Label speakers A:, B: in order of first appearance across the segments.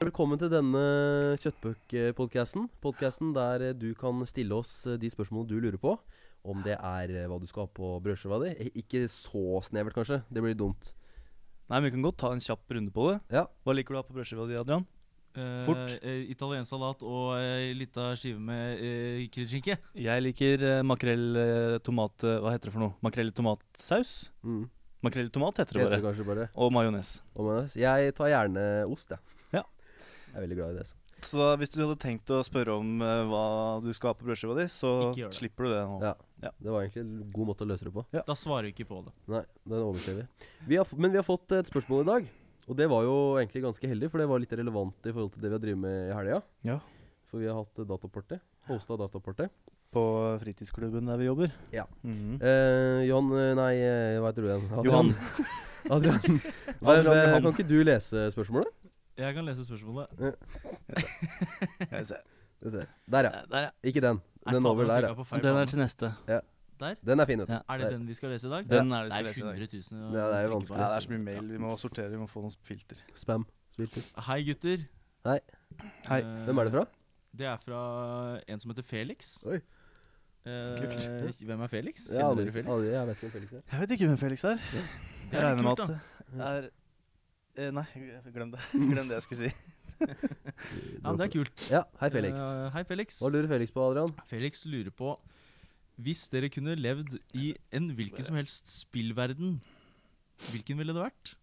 A: velkommen til denne Kjøttbøk-podkasten. Podkasten der eh, du kan stille oss eh, de spørsmålene du lurer på. Om det er eh, hva du skal ha på brødskiva di. Ik- Ikke så snevert, kanskje. Det blir dumt.
B: Nei, men Vi kan godt ta en kjapp runde på det.
A: Ja.
B: Hva liker du å ha på brødskiva di, Adrian?
C: Eh,
B: Fort.
C: eh, italiensk salat og ei lita skive med eh, krydderskinke.
B: Jeg liker eh, makrell eh, tomat eh, Hva heter det for noe? Makrell i tomatsaus?
A: Mm.
B: Makrell i tomat heter det
A: Heter det
B: bare.
A: kanskje bare
B: Og majones.
A: om majones. Jeg tar gjerne ost, jeg.
B: Ja.
A: Jeg er veldig glad i det. Så.
D: Så da, hvis du hadde tenkt å spørre om eh, hva du skal ha på brødskiva di, så
C: Ikke gjør det.
D: slipper du det nå.
A: Ja.
D: Ja.
A: Det var egentlig en god måte å løse det på.
D: Ja.
C: Da svarer du ikke på det.
A: Nei, den overser vi. vi har, f- men vi har fått et spørsmål i dag. Og det var jo egentlig ganske heldig, for det var litt relevant i forhold til det vi har drevet med i helga.
D: Ja.
A: For vi har hatt eh, dataparty. Hosta dataparty.
D: På fritidsklubben der vi jobber.
A: Ja.
D: Mhm.
A: Eh, Johan eh, Nei, eh, hva heter du igjen? Adrian.
D: Johan.
A: Adrian.
D: Adrian
A: Hva- eh,
D: Johan.
A: Kan ikke du lese spørsmålet?
C: Jeg kan lese spørsmålet.
D: Jeg ser.
A: Skal vi se. Der, ja.
B: Eh, Der, ja.
A: Ikke den.
C: Nei,
A: Den
C: faen,
A: over
C: nå
A: der,
C: trykket
A: ja.
C: jeg på feil
B: Den
C: bane.
B: er til neste.
C: Der?
A: Den er fin, vet du.
B: Ja.
C: Er det den vi skal lese i dag?
B: Den er det
C: det er
B: vi skal lese i dag.
C: 100 000 å
A: Ja, det er jo
C: trykke
A: vanskelig.
C: på.
D: Ja, det er så mye mail. Vi må sortere, vi må få noen filter.
A: Spam. Spilter.
C: Hei, gutter.
A: Hei.
D: Hei.
C: Eh,
A: Hvem er det fra?
C: Det er fra en som heter Felix.
A: Oi.
C: Eh,
D: Kult.
C: hvem er Felix?
A: Ja,
C: Kjenner
A: aldri-
C: dere Felix?
A: aldri- Jeg vet ikke om Felix er
D: Jeg vet ikke hvem Felix er.
C: Det
D: Jeg
C: er
D: regner
C: litt
D: med
C: kult,
D: at
C: da.
D: det er eh, Nei, glem det. Glem det jeg skulle si.
C: Ja, men det er kult.
A: Ja, hei, Felix.
C: Eh, hei, Felix.
A: Hva lurer Felix på, Adrian?
C: Felix lurer på Hvis dere kunne levd i en hvilken som helst spillverden, hvilken ville det vært?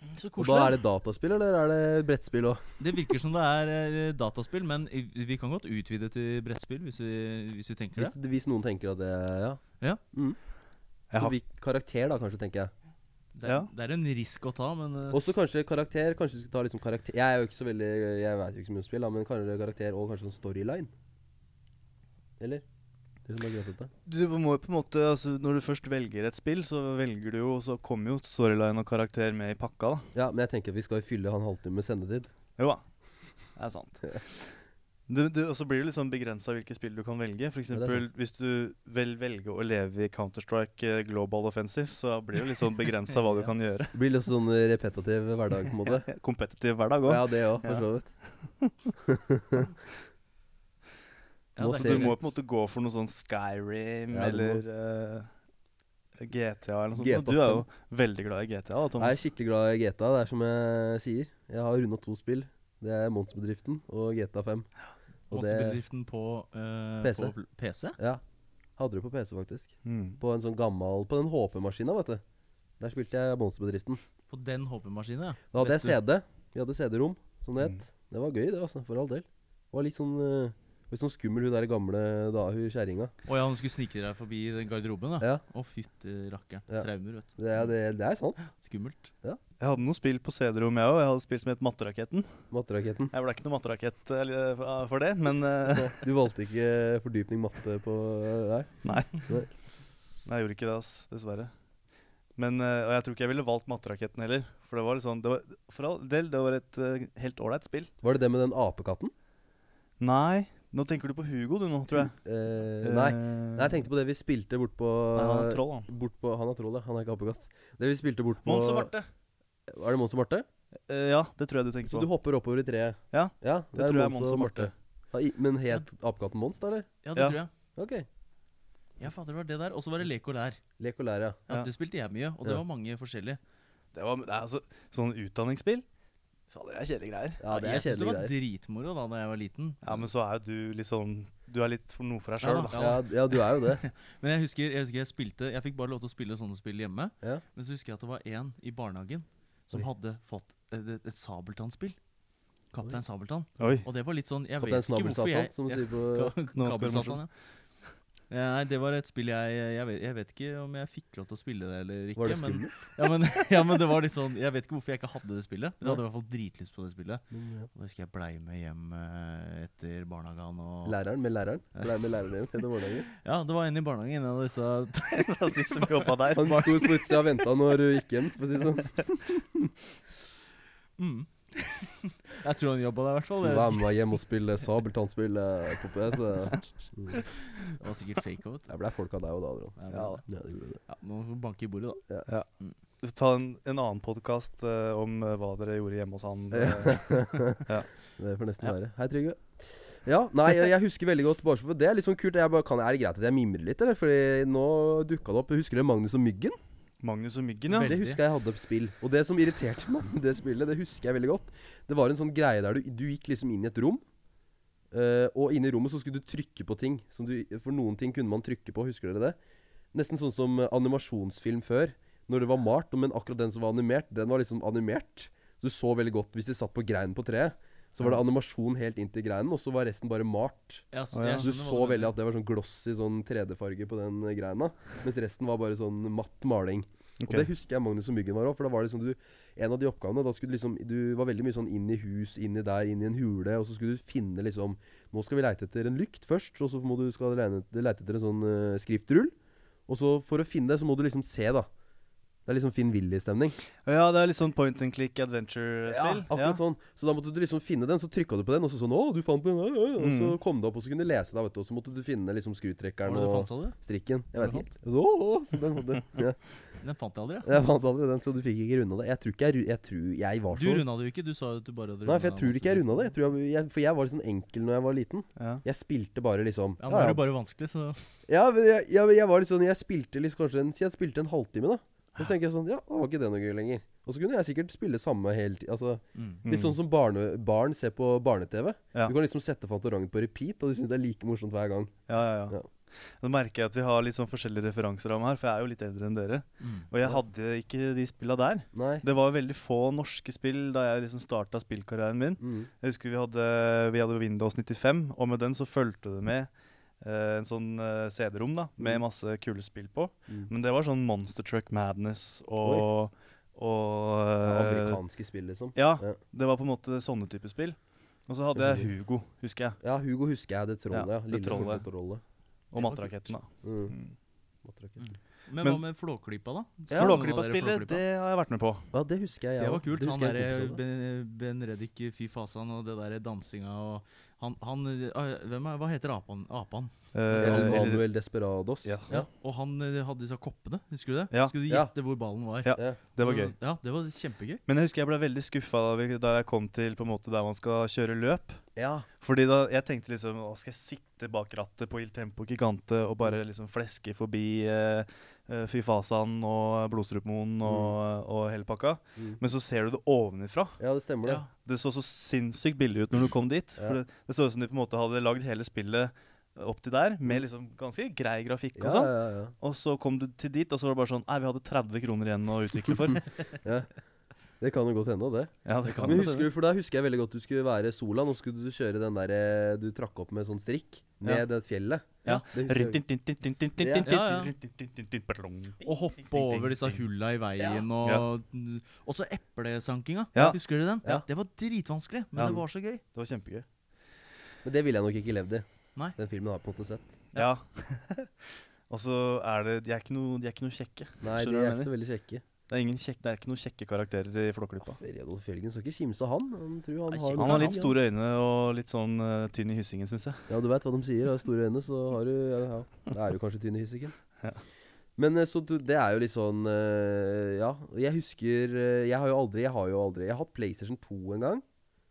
B: Mm, Så
A: Og da er det dataspill, eller er det brettspill òg?
C: Det virker som det er eh, dataspill, men i- vi kan godt utvide til brettspill hvis vi, hvis vi tenker det.
A: Hvis, hvis noen tenker at det Ja.
C: Ja.
A: Mm.
D: Jeg har,
A: Hvil- Karakter, da, kanskje, tenker jeg.
C: Det er,
D: Ja.
C: det er en risk å ta, men eh,
A: Også kanskje karakter. Kanskje vi skal ta liksom karakter Jeg er jo ikke så veldig Jeg vet jo ikke så mye om spill, da, men kanskje karakter og kanskje sånn storyline. Eller? Det som er sånn greit, dette.
D: du må jo på en måte, altså, Når du først velger et spill, så velger du jo, så kommer jo storyline og karakter med i pakka. da.
A: Ja, men jeg tenker at vi skal fylle han halvtime med sendetid.
D: Jo da. Det er sant. Du, du, og så blir det liksom begrensa hvilke spill du kan velge. For
A: det er
D: eksempel, hvis du vel velger å leve i Counter-Strike eh, Global Offensive, så blir det litt sånn begrensa hva du kan gjøre.
A: Det blir litt sånn repetativ hverdag, på en måte.
D: Kompetitiv hverdag òg.
A: Ja, det òg, for så vidt.
C: ja,
A: må
C: det er
A: se
D: Så
C: ikke
D: du må
C: lett.
D: på en måte gå for noe sånn
A: Ja,
D: Skyrim
A: du må.
D: eller eh, GTA eller noe sånt.
A: GTA
D: Og Du er jo veldig glad i GTA, da,
A: Jeg er
D: Thomas.
A: skikkelig glad i GTA. Det er som jeg sier. Jeg har runda to spill. Det er Monsbedriften og GTA 5. Og det
C: Monsterbedriften på, eh,
A: PC.
C: på pl- PC?
A: Ja. Hadde det på PC, faktisk.
D: Mm.
A: På en sånn gammel På den HP-maskina, vet du. Der spilte jeg Monsterbedriften.
C: På den HP-maskinen, ja.
A: Da hadde
C: Vet
A: jeg
C: du-
A: CD. Vi hadde CD-rom, som det
D: Mm.
A: het. Det var gøy, det, altså. For all del. Det var litt sånn, eh, litt sånn skummel, hun der gamle da, hun kjerringa.
C: Å ja, han skulle snike deg forbi den garderoben, da.
D: Ah.
A: Ja,
C: Å, fytti rakkeren.
A: Ja.
C: Traumer, vet du.
A: det er, det, det er sant.
C: Skummelt.
D: Jeg hadde noen spill på CD-rom, jeg òg. Jeg hadde spill som het Matteraketten.
A: Matteraketten.
D: Jeg ble ikke noe matterakett eh, for det, men eh,
A: Du valgte ikke fordypning matte på eh, Nei.
D: Nei, jeg gjorde ikke det, ass, dessverre. Men, eh, og jeg tror ikke jeg ville valgt matteraketten heller. For det var litt sånn, det var, for all del, det var et eh, helt ålreit spill.
A: Var det det med den apekatten?
D: Nei, nå tenker du på Hugo du nå, tror jeg.
A: Eh, nei. Nei, Jeg tenkte på det vi spilte bort på
D: Nei, han er troll, han.
A: Bort på, han er troll, ja. Han er ikke apekatt. Det vi spilte bort på
D: Mons og Marte.
A: Er det Mons og Marte?
D: Eh, ja, det tror jeg du tenker
A: Så du
D: på.
A: hopper oppover i treet?
D: Ja,
A: ja
D: det tror jeg er Mons og Marte.
A: Ja, i- men het apekatten Mons, da, eller?
C: Ja, det
D: Ja.
C: tror jeg.
A: OK.
C: Ja, fader, det var det der. Og så var det lek og lær.
A: Lek og lær, ja.
C: Ja,
D: Ja.
C: Det spilte jeg mye, og det
A: Ja.
C: var mange forskjellige.
D: Det var det er altså, sånn utdanningsspill. Fader, det er kjedelige greier.
A: Ja, det er
C: jeg synes det
A: kjedelige
C: var
A: greier.
C: dritmoro da da jeg var liten.
D: Ja, men så er jo du litt sånn Du er litt for noe for deg
C: Ja
D: sjøl,
C: da.
D: da.
A: Ja, ja, du er jo det.
C: Men jeg husker jeg, husker jeg spilte Jeg fikk bare lov til å spille sånne spill hjemme.
A: Ja.
C: Men så husker jeg at det var en i barnehagen som
A: Oi.
C: hadde fått et, et, et Sabeltann-spill. Kaptein Sabeltann.
D: Oi.
C: Og det var litt sånn Jeg
A: Kaptein
C: vet ikke hvorfor
A: Snabeltsatan,
C: jeg
A: som du
C: Ja,
A: sier på
C: Ka-
D: Nå skal du
C: Kabelsatan, ja. Ja, Nei, det var et spill jeg jeg vet, jeg vet ikke om jeg fikk lov til å spille det eller ikke.
A: Var det
C: men,
A: skummelt?
C: ja, men, ja, men det var litt sånn Jeg vet ikke hvorfor jeg ikke hadde det spillet. Men jeg hadde i hvert fall dritlyst på det spillet. Og da husker jeg blei med hjem eh, etter barnehagen og
A: Læreren med læreren. Blei med læreren hjem etter morgenen.
C: Ja, det var en i barnehagen, en av disse
D: De som jobba der.
A: Han sto på utsida og venta når hun gikk hjem. For å si det sånn.
C: mm. Jeg tror han jobba der, i hvert fall.
A: Skulle
C: Jeg
A: være
C: vet
A: med meg hjem og spille sabeltannspill eh, på PC. Mm.
C: ikke. Det var sikkert fake out.
A: Jeg blei folk av deg og da, Adrian.
C: Ja,
D: Ja.
C: men-
A: Ja, det gjorde det.
C: ja, nå får vi banke i bordet, da.
D: Ja. ta en, en annen podkast om eh, hva dere gjorde hjemme hos han. eh.
A: Det får nesten være. Hei, Trygve. Ja, nei, jeg, jeg husker veldig godt Bare for det er litt sånn kult. Jeg bare, kan, er det greit at jeg mimrer litt, eller? Fordi nå dukka det opp Husker dere Magnus og Myggen?
D: Magnus og Myggen, ja.
C: Veldig.
A: Det husker jeg hadde på spill. Og det som irriterte meg med det spillet, det husker jeg veldig godt. Det var en sånn greie der du, du gikk liksom inn i et rom. eh, og inne i rommet så skulle du trykke på ting. Som du, for noen ting kunne man trykke på, husker dere det? Nesten sånn som eh, animasjonsfilm før. Når det var malt, men akkurat den som var animert, den var liksom animert. Så du så veldig godt hvis de satt på greinen på treet. Så var det animasjon helt inntil greinen, og så var resten bare malt.
C: Ja, så,
D: Å, ja.
C: jeg
A: Så du
C: skjønner hva
A: så
C: du mener.
A: veldig at det var sånn glossy sånn 3D-farge på den eh, greina. Mens resten var bare sånn matt maling.
D: Ok.
A: Og det husker jeg Magnus og Myggen var òg. For da var det liksom du En av de oppgavene Da skulle du liksom Du var veldig mye sånn inn i hus, inni der, inn i en hule. Og så skulle du finne liksom Nå skal vi leite etter en lykt først. Og så må du skal leite, leite etter en sånn eh, skriftrull. Og så for å finne det, så må du liksom se, da. Det er liksom Finn Willy-stemning.
D: Ja, det er litt sånn point and click adventure-spill.
A: Akkurat sånn. Så da måtte du liksom finne den, så trykka du på den, og så sånn Å, du fant den! øh, øh», Og så kom det opp, og så kunne du lese deg, vet du. Og så måtte du finne liksom
C: Hva
A: skrutrekkeren
C: var det Mm. du
A: og
C: fant, sa du?
A: strikken. Jeg
C: Var
A: vet
C: det
A: ikke. helt. Å, å, så den hadde ja.
C: Den fant jeg aldri. Ja.
A: Jeg fant aldri den, så du fikk ikke runda det. Jeg tror ikke jeg, ru- jeg, tror jeg var
C: Du
A: så
C: runda det jo ikke. Du sa jo at du bare hadde
A: Nei, for jeg tror ikke jeg runda det.
C: masse-
A: Jeg tror jeg, jeg, for jeg var liksom enkel når jeg var liten.
D: Ja.
A: Jeg spilte bare liksom
C: Ja, nå
A: ja,
C: er det
A: ja.
C: bare vanskelig, så
A: ja, men jeg, ja, men jeg var liksom Jeg spilte liksom kanskje en, jeg spilte en halvtime, da. Og så tenker jeg sånn Ja, da var ikke det noe gøy lenger. Og så kunne jeg sikkert spille samme hele tida. Altså,
C: mm.
A: Litt sånn som barne, barn ser på barne-TV.
D: Ja.
A: Du kan liksom sette Fantorangen på repeat, og du syns det er like morsomt hver gang.
D: Ja, ja,
A: Ja.
D: ja. Nå merker jeg at vi har litt sånn forskjellige referanseramme her, for jeg er jo litt eldre enn dere.
C: Mm.
D: Og jeg hadde ikke de spilla der.
A: Nei.
D: Det var veldig få norske spill da jeg liksom starta spillkarrieren min.
A: Mm.
D: Jeg husker vi hadde, vi hadde Windows 95, og med den så fulgte det med eh, en sånn eh, CD-rom da, med
A: Mm.
D: masse kule spill på.
A: Mm.
D: Men det var sånn Monster Truck Madness og, og eh,
A: Amerikanske spill, liksom.
D: Ja,
A: Ja.
D: det var på en måte sånne typer spill. Og så hadde jeg Hugo, husker jeg.
A: Ja, Hugo husker jeg. Det trollet,
D: Ja,
A: ja.
D: det
A: Lille
D: trollet.
A: korte trollet.
D: Og
C: Det var kult.
D: Mattraketten, da.
A: Mm.
D: Mm.
A: Matrakett.
D: Men-
C: Men, hva med Flåklypa, da?
A: Ja.
C: Noen av dere
D: Flåklypa-spillet,
C: Flåklypa?
D: det har jeg vært med på.
A: Ja, det husker jeg. jeg
C: Det var
A: også.
C: kult. Han
A: husker jeg altså. i korte
C: derre
A: trollet.
C: ben, ben Reddik, fy fasan, og det derre dansinga og han, han eh, hvem er, Hva heter apan? apan?
D: Eh,
A: El
D: eller-
A: Manuel Desperados.
D: Ja.
C: Ja. Og han eh, hadde disse koppene, husker du det?
D: Ja.
C: Skulle du
A: Ja.
C: gjette hvor ballen var?
D: Ja. Det var
C: Så-
D: gøy.
C: Ja, det var kjempegøy.
D: Men jeg husker jeg ble veldig skuffa da, vi- da jeg kom til på en måte der man skal kjøre løp.
A: ja.
D: Fordi da jeg tenkte liksom Å, skal jeg sitte bak rattet på Il Tempo Gigante og bare liksom fleske forbi eh, eh, Fyfasan og Blodstrupmoen og, og hele pakka?
A: Mm.
D: Men så ser du det ovenifra.
A: ja, det stemmer, det.
C: Ja.
D: Det så så sinnssykt billig ut når du kom dit.
A: Ja.
D: For det, det så ut som de på en måte hadde lagd hele spillet opp til der, med liksom ganske grei grafikk
A: Ja,
D: og sånn.
A: ja, ja.
D: Og så kom du til dit, og så var det bare sånn Nei, vi hadde 30 kroner igjen å utvikle for.
A: Det kan jo godt hende, det.
D: ja, det kan
A: Men
D: jo
A: husker du, for Da husker jeg veldig godt du skulle være Solan, og skulle du kjøre den der eh, du trakk opp med sånn strikk ned
D: Ja.
A: det fjellet.
D: Ja.
A: Det husker jeg.
C: Ja,
D: Ja,
C: Å hoppe over disse hulla i veien og Og så eplesankinga.
D: Ja.
C: Husker du den?
A: Ja.
C: Det var dritvanskelig, men
D: Ja.
C: det var så gøy.
D: Det var kjempegøy.
A: Men det ville jeg nok ikke levd i.
C: Nei.
A: Den filmen har jeg på en måte sett.
D: Ja. Og så er det De er ikke noe, de er ikke noe kjekke.
A: Nei,
D: Skjønner
A: de
D: du hva
A: er
D: jeg
A: ikke så veldig kjekke.
D: Det er, ingen kjekk, det er ikke noen kjekke karakterer i Flåklypa.
A: Feriadolf Jørgen skal ikke kimse av han. Han tror han
C: Nei,
A: har
C: kimse
D: Han
A: noe
D: har litt
A: sånt,
D: store øyne og litt sånn eh, tynn i hyssingen, syns jeg.
A: Ja, Ja, du veit hva de sier. Har du store øyne, så har du ja, ja. Da er du kanskje tynn i hyssiken. Men eh, så du, det er jo litt sånn eh, Ja. og Jeg husker eh, Jeg har jo aldri Jeg har jo aldri Jeg har hatt PlayStation 2 en gang.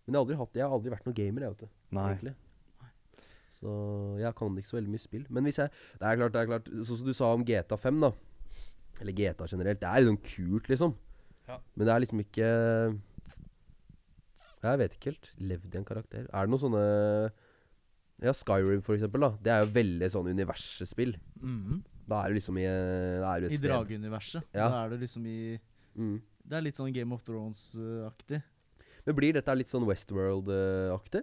A: Men jeg har aldri, hatt, jeg har aldri vært noen gamer, jeg, vet du. egentlig. Så jeg kan ikke så veldig mye spill. Men hvis jeg Det er klart, det er klart Sånn som du sa om GTA 5, da. Eller GTA generelt. Det er litt sånn kult, liksom.
D: Ja.
A: Men det er liksom ikke Jeg vet ikke helt. Levd i en karakter. Er det noen sånne Ja, Skyrim, for eksempel. da Det er jo veldig sånn universespill.
C: Mhm.
A: Da er du liksom i eh, Da er du et
C: I
A: sted.
C: drageuniverset.
A: Ja.
C: Da er det liksom i
A: Mm.
C: Det er litt sånn Game of Thrones-aktig.
A: Men blir dette litt sånn Westworld-aktig?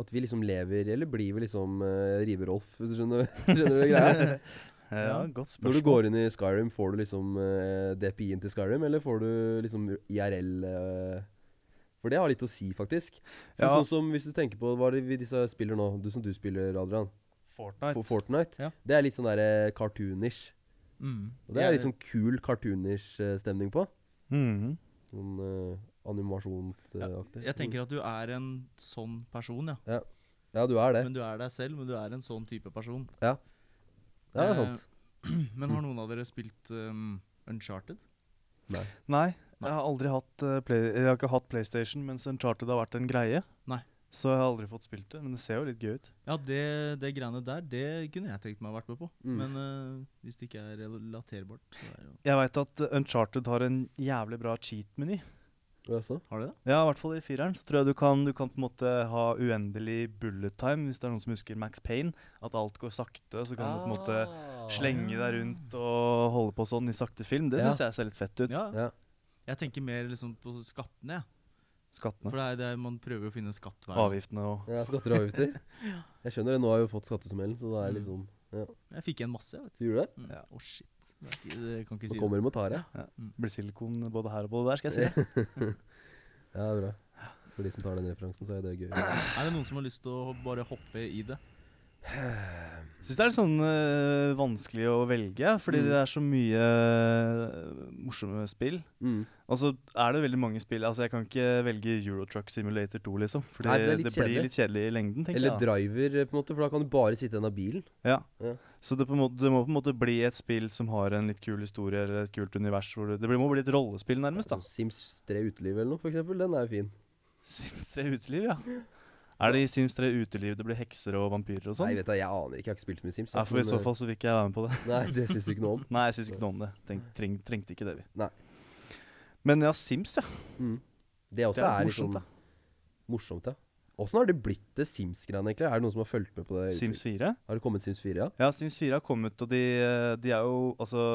A: At vi liksom lever Eller blir vi liksom uh, Rive-Rolf, hvis du skjønner, skjønner du greia?
D: Eh, Ja, godt
A: Når du
D: spørsmål.
A: går inn i Skyrim, får du liksom eh, DPI-en til Skyrim, eller får du liksom IRL eh? For det har litt å si, faktisk. For
D: Ja.
A: Sånn som Hvis du tenker på hva er det vi disse spiller nå, du som du spiller, Adrian,
D: Fortnite.
A: for Fortnite,
C: Ja.
A: det er litt sånn derre cartoonish.
C: Mm.
A: Og det er litt sånn kul cartoonish-stemning på.
D: Mhm.
A: Sånn eh, animasjonsaktig.
C: Jeg tenker at du er en sånn person, ja.
A: Mm. Ja, du er det.
C: Men du er deg selv, men du er en sånn type person.
A: Ja, det er
C: eh,
A: sant. Mm.
C: Men har noen av dere spilt um, Uncharted?
A: Nei.
D: Nei,
C: Nei.
D: jeg har aldri hatt eh, play Jeg har ikke hatt PlayStation, mens Uncharted har vært en greie.
C: Nei.
D: Så jeg har aldri fått spilt det, men det ser jo litt gøy ut.
C: Ja, det, det greiene der, det kunne jeg tenkt meg å vært med på.
A: Mm.
C: Men eh, hvis det ikke er relaterbart, så er det jo
D: Jeg veit at eh, Uncharted har en jævlig bra cheat-meny.
A: Jaså?
C: Har du det?
D: Ja, i hvert fall i fireren. Så tror jeg du kan, du kan på en måte ha uendelig bullet time, hvis det er noen som husker Max Payne. At alt går sakte, så kan du på en måte
A: Ah.
D: slenge deg rundt og holde på sånn i sakte film. Det
A: Ja.
D: syns jeg ser litt fett ut.
C: Ja.
A: Ja.
C: Jeg tenker mer liksom på skattene, jeg. For
D: Skattene.
C: det er det man prøver jo å finne en skatt hver gang.
D: Avgiftene og
A: Ja, skatter og avgifter. Jeg skjønner det, nå har jeg jo fått skattesmellen, så da er jeg liksom
C: Jeg fikk igjen masse, vet du.
A: Så gjorde du det?
C: Mm.
D: Ja.
C: Å, shit. Det, er ikke, det kan ikke
A: Nå
C: si
A: kommer de og tar deg.
D: blir silikon både her og både der, skal jeg si.
A: Ja, det er bra. For de som tar den referansen, så er det gøy.
C: det. Er det noen som har lyst til å bare hoppe i det?
D: Syns det er litt sånn øh, vanskelig å velge,
A: Mm.
D: fordi det er så mye øh, morsomme spill.
A: Mm.
D: Og så er det veldig mange spill. Altså, jeg kan ikke velge Eurotruck Simulator 2, liksom. For
A: Nei, det er
D: det,
A: litt kjedelig.
D: blir litt kjedelig i lengden, tenker
A: Eller
D: jeg.
A: driver, på en måte, for da kan du bare sitte i den av bilen.
D: Ja.
A: Ja.
D: Så det, på en måte, det må på en måte bli et spill som har en litt kul historie eller et kult univers. Hvor det, det blir- må bli et rollespill, nærmest. da
A: Sånn Sims 3 Uteliv eller noe, for eksempel. Den er jo fin.
D: Sims 3 Uteliv, ja. Er det i Sims 3 Uteliv det blir hekser og vampyrer og
A: Nei,
D: sånn?
A: vet du, jeg aner ikke. Jeg har ikke spilt så mye Sims.
D: Ja,
A: altså,
D: for I
A: men,
D: så
A: eh,
D: fall så vil ikke jeg være med på det.
A: Nei, det syns du ikke noe om.
D: Nei, jeg syns ikke noe om det. Tenk, treng, trengte ikke det, vi.
A: Nei.
D: Men ja, Sims, ja.
A: Mm. Det også
D: Det er
A: er,
D: morsomt,
A: liksom
D: da.
A: morsomt, ja. Åssen har det blitt det Sims-greiene, egentlig? Er det noen som har fulgt med på det?
D: Sims 4.
A: Har det kommet Sims 4, ja?
D: Ja, Sims 4 har kommet, og de, eh, de er jo altså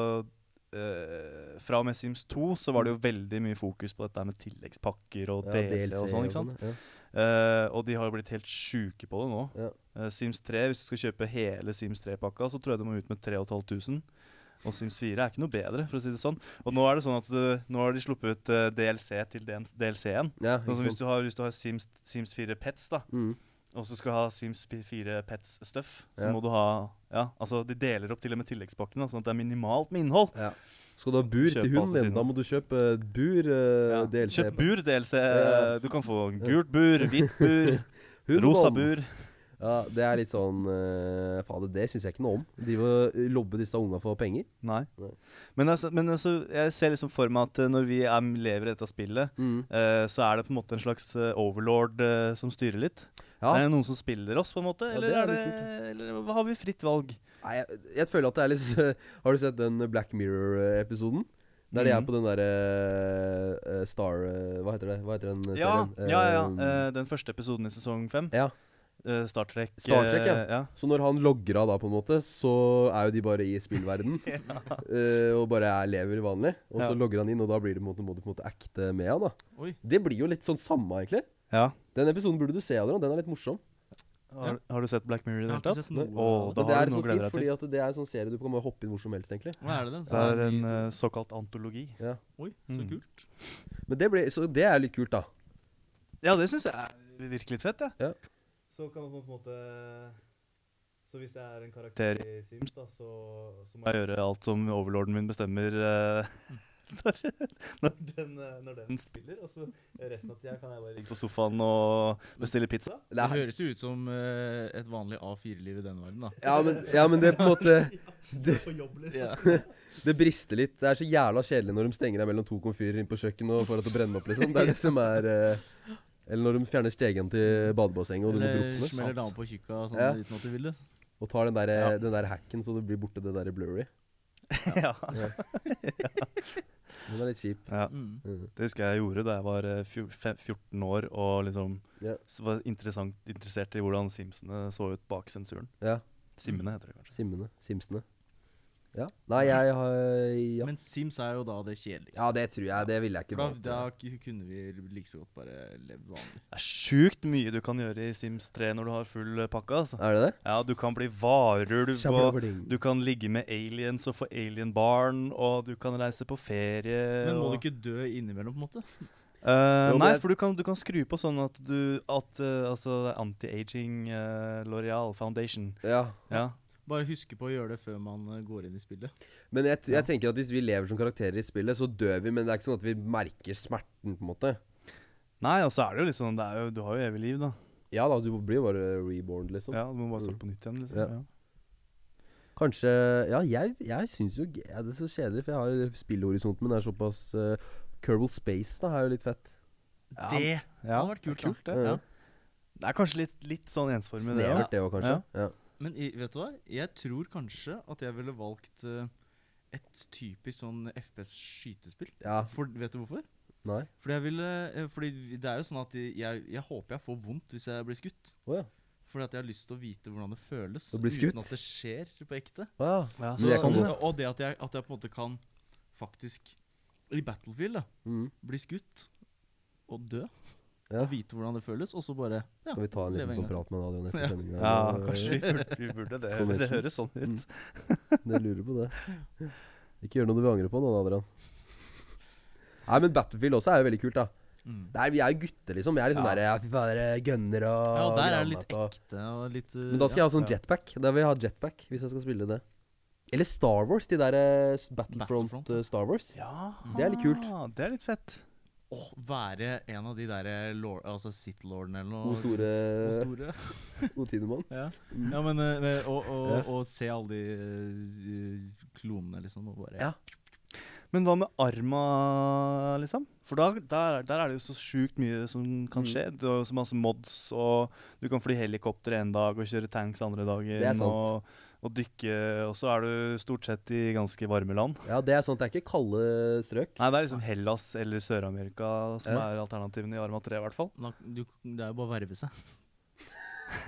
D: eh, Fra og med Sims 2 så var det jo veldig mye fokus på dette her med tilleggspakker og
A: Ja,
D: DLC og sånn. ikke sant?
A: Ja.
D: Eh, og de har jo blitt helt sjuke på det nå.
A: Ja.
D: Eh, Sims 3, hvis du skal kjøpe hele Sims 3-pakka, så tror jeg du må ut med 3500. Og Sims 4 er ikke noe bedre, for å si det sånn. Og nå er det sånn at du, nå har de sluppet ut eh, DLC til DLC-en.
A: Ja, ikke
D: Altså, hvis,
A: sant?
D: du har, hvis du har Sims, Sims 4 Pets, da,
A: Mm.
D: og så skal ha Sims 4 Pets Stuff, så
A: Ja.
D: må du ha Ja, altså de deler opp til og med tilleggspakkene, sånn at det er minimalt med innhold.
A: Ja. Skal du ha bur
D: Kjøp
A: til hund
D: alt i
A: din,
D: siden.
A: da må du kjøpe eh, bur. eh,
D: Ja.
A: DLC.
D: Kjøp bur, DLC.
A: Ja.
D: eh, Du kan få gult bur, hvitt bur,
A: Hundvalp.
D: rosa bur.
A: Ja, det er litt sånn uh, Fader, det syns jeg ikke noe om. Drive og eh, lobbe disse unga for penger.
D: Nei.
A: Nei.
D: Men, altså, men altså, jeg ser liksom for meg at eh, når vi er, lever i dette spillet,
A: Mm.
D: eh, så er det på en måte en slags eh, overlord eh, som styrer litt.
A: Ja.
D: Er det noen som spiller oss, på en måte?
A: Ja,
D: Eller,
A: det er
D: er det
A: litt
D: eller hva- har vi fritt valg?
A: Nei, jeg, jeg føler at det er litt Har du sett den Black Mirror-episoden? Der de er
D: Mhm.
A: på den derre eh, Star eh, Hva heter det? Hva heter den eh,
D: Ja,
A: serien?
D: ja, ja.
A: Eh,
D: eh, den første episoden i sesong fem.
A: ja.
D: eh, Star Trek.
A: Star Trek, ja.
D: eh, ja.
A: Så når han logger av da, på en måte, så er jo de bare i spillverden eh, og bare er, lever vanlig. Og
D: Ja.
A: så logger han inn, og da blir det på en måte, må du på en måte acte med han. da.
C: Oi.
A: Det blir jo litt sånn samme, egentlig.
D: Ja.
A: Den episoden burde du se, Adrian. Den er litt morsom.
D: Har, har du sett Black Mirror i
C: Jeg
D: det hele
C: har ikke
D: tatt?
C: sett noe
A: Nei.
D: Å,
C: av det.
D: da
A: Men det
D: har
A: er
D: du
A: så
D: noe å
A: fint,
D: glede deg
A: fordi
D: til.
A: at det er en sånn serie du kan bare hoppe inn hvor som helst, egentlig.
C: Hva er det den?
D: Det er
C: ny
D: en
C: historie.
D: eh, såkalt antologi.
A: Ja.
C: Oi, så
D: Mm.
C: kult.
A: Men det ble, så det er jo litt kult, da.
D: Ja, det syns jeg er- virker litt fett, jeg.
A: Ja.
D: Så kan man på en måte Så hvis jeg er en karakter i Sims, da, så, så må jeg gjøre alt som overlorden min bestemmer eh, når, når, den, eh, når den spiller. Og så resten av tida kan jeg bare ligge på sofaen og bestille pizza.
A: Det
C: Det
A: er,
C: høres jo ut som eh, et vanlig A4-liv i den verden, da.
A: ja, men, ja, men det er på en måte det,
C: På jobb, liksom.
A: Ja. det brister litt. Det er så jævla kjedelig når de stenger deg mellom to komfyrer inn på kjøkkenet og får deg til å brenne opp, liksom. Det er det som er eh, Eller når de fjerner stegen til badebassenget, og du må
C: Eller
A: drukne.
C: smeller dama på tjukka sånn
A: Ja.
C: uten at du vil det.
A: Og tar den der, eh,
D: Ja.
A: den der hacken så det blir borte det der blurry.
D: Ja.
A: Den er litt kjip.
C: Mm.
A: Mhm.
D: Det husker jeg jeg gjorde da jeg var eh, fjor- fe- 14 år og liksom
A: Ja.
D: s- var interessant, interessert i hvordan Simsene så ut bak sensuren.
A: Ja.
D: Simmene heter det kanskje.
A: Simmene. Simsene. Ja. Nei, jeg har ja.
C: Men Sims er jo da det kjedeligste.
A: ja, det tror jeg. Det ville jeg ikke
C: For
A: valgt. eh.
C: da, da k- kunne vi like så godt bare levd vanlig.
D: Det er sjukt mye du kan gjøre i Sims 3 når du har full eh, pakke. altså.
A: Er det det?
D: Ja, du kan bli varulv, og
A: Shabla-bling.
D: du kan ligge med aliens og få alienbarn, og du kan reise på
A: Eh,
D: ferie.
C: Men må
D: og...
C: du ikke dø innimellom, på en måte?
D: Eh,
A: Jo, men
D: nei,
A: jeg-
D: for du kan, du kan skru på sånn at du at, eh, Altså det er anti-aging eh, L'Oreal Foundation.
A: Ja.
D: Ja.
C: Bare huske på å gjøre det før man eh, går inn i spillet.
A: Men jeg, t- jeg tenker at hvis vi lever som karakterer i spillet, så dør vi, men det er ikke sånn at vi merker smerten, på en måte.
D: Nei, og så er det jo liksom det er jo, Du har jo evig liv, da.
A: Ja da, du blir jo bare reborn, liksom.
D: Ja, Du må bare starte på nytt igjen, liksom.
A: Ja.
D: Ja.
A: Kanskje Ja, jeg, jeg syns jo g- ja, Det er så kjedelig, for jeg har spillhorisonten min er såpass uh, Kerbal Space da er jo litt fett.
D: Ja,
C: det
D: ja,
C: hadde vært kult,
D: kult,
C: da.
A: det.
C: Ja.
A: Ja.
D: Det er kanskje litt, litt sånn ensformig, det. da.
A: Snevert, det òg, kanskje. Ja.
C: Men i, vet du hva? Jeg tror kanskje at jeg ville valgt eh, et typisk sånn FPS skytespill.
A: Ja.
C: For, vet du hvorfor?
A: Nei.
C: Fordi, jeg ville, eh, fordi det er jo sånn at jeg, jeg håper jeg får vondt hvis jeg blir skutt.
A: Å ja.
C: Fordi at jeg har lyst til å vite hvordan det føles
A: Å bli skutt?
C: uten at det skjer på ekte.
A: Å ja.
D: Ja,
A: Men jeg
C: Så,
A: kan
D: sånn,
A: gå-
D: ja.
C: og det at jeg, at jeg på en måte kan faktisk I Battlefield da,
A: Mm.
C: bli skutt og dø.
A: Ja.
C: Og vite hvordan det føles, og så bare ja.
A: Skal vi ta en liten
C: Leve en
A: sånn
C: gang.
A: prat med Adrian etter
C: Ja.
A: sendingen?
D: ja, kanskje vi burde, vi burde det.
A: Kommer
D: Det
A: ikke.
D: høres sånn ut.
A: Jeg lurer på det. Ikke gjør noe du vil angre på nå, Adrian. Nei, men Battlefield også er jo veldig kult, da.
C: Mm.
A: Det er, vi er jo gutter, liksom. Vi er liksom
D: Ja.
A: der ja, fy fader, gønner og
C: ja, og der er det
A: granat
C: litt
A: og-
C: ekte og litt uh,
A: Men da skal jeg ha sånn
D: ja.
A: jetpack. Da vil jeg ha jetpack hvis jeg skal spille det. Eller Star Wars. De der eh, s- Battlefront,
C: Battlefront,
A: eh, Star Wars.
D: Ja,
A: Det er litt kult.
D: Det er litt fett.
C: Åh, være en av de der eh, lord, altså Sith-lorden eller noe.
A: O store
C: O store.
A: Otinemann.
C: Ja.
A: Mm.
C: ja, men eh, men- og, og,
A: Ja.
C: og se alle de eh, klonene, liksom. Og bare
A: Ja.
D: Men hva med arma, liksom? For da, der, er- der er det jo så sjukt mye som kan
A: Mm.
D: skje. Du har jo så masse mods, og du kan fly helikopter en dag og kjøre tanks andre dagen.
A: Det er sant.
D: Og, og dykke, og så er du stort sett i ganske varme land.
A: Ja, det er sånn at det er ikke kalde strøk.
D: Nei, det er liksom Hellas eller Sør-Amerika som
A: Ja.
D: er alternativene i Arma 3, i hvert fall.
C: da, du, Det er jo bare å verve seg.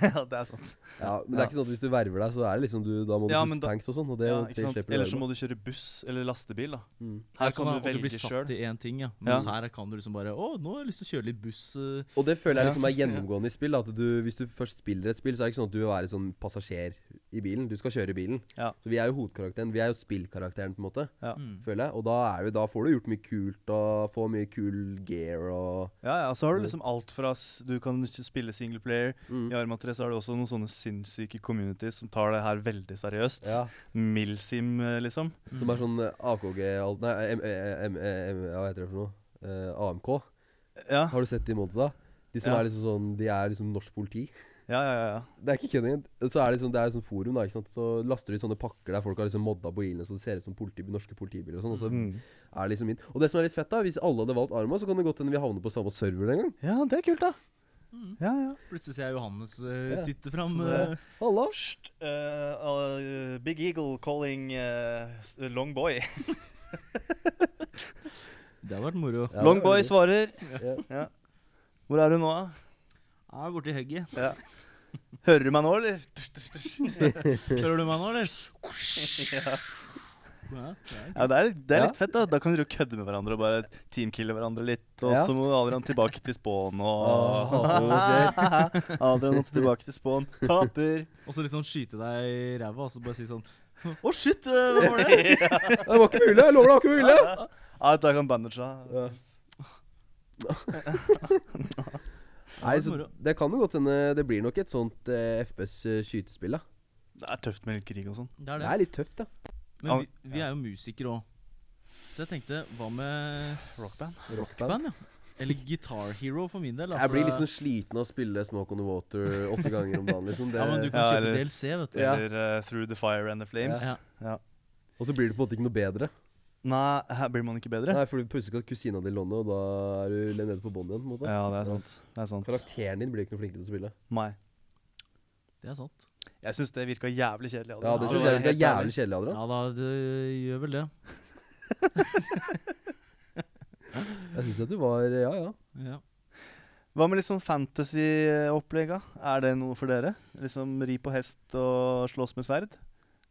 D: ja, det er sant.
A: Ja, men det er ikke sånn at hvis du verver deg, så er det liksom du Da må du
D: Ja, men
A: pusse
D: da-
A: tanks og sånn. Og det,
D: ja,
A: det
D: ikke sant?
A: slipper du å
D: Eller
A: gjøre
D: så
A: med.
D: må du kjøre buss eller lastebil, da.
A: Mm.
D: Her kan
C: Ja, sånn,
D: du
C: da, og
D: velge
C: blir satt
D: sjøl.
C: til én ting, ja. Mens
D: Ja.
C: her kan du liksom bare Å, nå har jeg lyst til å kjøre litt buss. eh,
A: Og det føler jeg liksom er gjennomgående i spill. da, At du, Hvis du først spiller et spill, så er det ikke sånn at du vil være sånn passasjer i bilen. Du skal kjøre bilen.
D: Ja.
A: Så vi er jo hovedkarakteren. Vi er jo spillkarakteren, på en måte.
D: Ja.
C: Mm.
A: Føler jeg. Og da, er vi, da får du gjort mye kult, og får mye kul gear og
D: Ja, ja, så har du liksom alt fra s- Du kan ikke spille single player.
A: mm.
D: I Arma 3 så er det også noen sånne sinnssyke communities som tar det her veldig seriøst.
A: Ja.
D: Milsim, eh, liksom.
A: Som er sånn eh, AKG alt- Nei, M, M, M, M, hva heter det for noe? Eh, AMK.
D: Ja,
A: Har du sett de monta? De som
D: Ja.
A: er liksom sånn De er liksom norsk politi.
D: ja, ja. ja.
A: Det er ikke kødding. Så er det liksom, det er sånn forum, da. ikke sant? Så laster de sånne pakker der folk har liksom modda bilene så det ser ut som politi, norske politibiler og sånn. Og så
D: Mm.
A: er det liksom inn. Og det som er litt fett, da, hvis alle hadde valgt Arma, så kan det godt hende vi havner på samme server en gang.
D: ja det er kult, da.
C: Mm.
D: Ja, ja.
C: Plutselig ser jeg Johannes
A: Ja.
C: eh,
A: Sånn
C: titte fram.
A: Så Halla.
D: eh, Big Eagle calling eh, Long Boy.
C: det har vært moro.
A: Ja, det
D: Long
A: er
D: Boy
A: veldig-
D: svarer.
A: Ja.
D: Ja. Hvor er du nå, da?
C: Jeg er borti hugget.
D: Ja. Hører du meg nå, eller?
C: Hører du meg nå, eller?
D: Ja.
C: Ja,
D: Ja, det er, litt- det er
A: Ja.
D: litt fett, da. Da kan dere jo kødde med hverandre og bare teamkille hverandre litt. Og
A: Ja.
D: så må Adrian tilbake til Spån
A: Ah,
D: og
A: Åh,
D: Adrian måtte tilbake til Spån. Taper.
C: Og så litt sånn skyte deg i ræva, og så bare si sånn Å, shit! eh, Hva var det?
A: Det var ikke mulig! Jeg lover det var ikke mulig!
D: Ja, da kan bandage av.
A: Ja. Nei, så det kan jo godt hende det blir nok et sånt eh, FPS eh, skytespill, da.
D: Det er tøft med litt krig og sånn.
C: Det er
A: Det
C: det.
A: er litt tøft, da.
C: Men vi, vi er jo musikere òg. Så jeg tenkte, hva med
D: Rockband.
A: Rockband.
C: band, ja? Eller Guitar Hero for min del. da,
A: Jeg
C: for
A: blir
C: det-
A: liksom sliten av å spille Smoke on the Water åtte ganger om dagen, liksom. Det,
C: Ja, men du kan
D: Ja,
C: kjøpe
D: eller-
C: DLC, vet du.
A: Ja.
D: Eller eh, Through the Fire and the Flames.
C: Ja.
A: Og så blir det på en måte ikke noe bedre.
D: Nei, her blir man ikke bedre.
A: Nei, for du plutselig skal kusina di låne, og da er du nede på bånn igjen. på en måte
D: Ja, det er sant. Det er sant.
A: Karakteren din blir ikke noe flinkere til å spille.
D: Nei.
C: Det er sant.
D: Jeg syns det virka jævlig kjedelig.
A: Ja, det syns
C: Ja, det
A: jeg
C: er
A: er
D: helt ærlig.
A: jævlig kjedelig, Adrian.
C: Ja da, det gjør vel det.
A: Jeg syns at du var Ja, ja.
C: Ja.
D: Hva med litt sånn fantasy-opplegg? da? Er det noe for dere? Liksom ri på hest og slåss med sverd?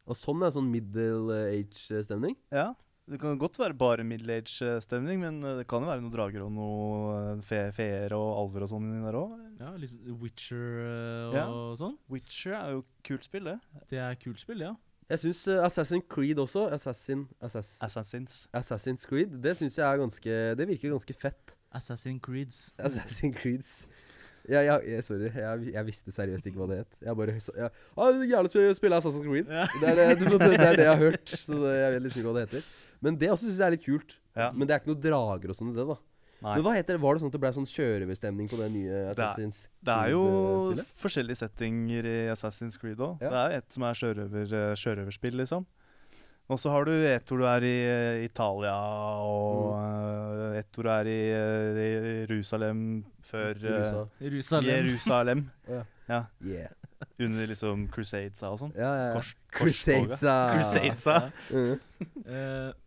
A: Og sånn er sånn middle eh, age-stemning.
D: Ja. Det kan godt være bare middle age-stemning, men eh, det kan jo være noen drager og noen fe feer og alver og sånn inni der òg.
C: ja litt sånn Witcher eh, og
D: Ja.
C: sånn.
D: Witcher er jo kult spill, det.
C: Det er kult spill, ja.
A: Jeg syns Assassin Creed også. Assassin, Assass,
D: Assassins.
A: Assassin's Creed. Det syns jeg er ganske Det virker ganske fett.
C: Assassin Creeds.
A: Assassin Creeds. Ja, ja, jeg- sorry, jeg, jeg visste seriøst ikke hva det het. Jeg bare så, jeg, ah, det er Jævlig spennende å spille Assassin's Creed.
C: Ja.
A: Det, er det, det, det er det jeg har hørt. Så det, jeg vet liksom ikke hva det heter. Men det også syns jeg er litt kult.
D: Ja.
A: Men det er ikke noe drager og sånn i det, da.
D: Nei.
A: Men hva heter det? Var det sånn at det ble sånn kjørebestemning på det nye Assassin's eh,
D: Det er jo
A: Creed-spillet?
D: forskjellige settinger i Assassin's Creed òg.
A: Ja.
D: Det er et som er sjørøver, eh, sjørøverspill, liksom. Og så har du et hvor du er i eh, Italia, og
A: Mm.
D: eh, et hvor du er i eh, i Jerusalem før eh,
A: Jerusa-
C: Jerusalem.
D: Jerusalem.
A: Ja.
D: ja.
A: Yeah.
D: Under liksom Crusadesa og sånn.
A: Ja, ja, ja.
D: Kors, korstoget.
A: Crusadesa.
D: Crusadesa.
A: ah. Mm.
C: Eh,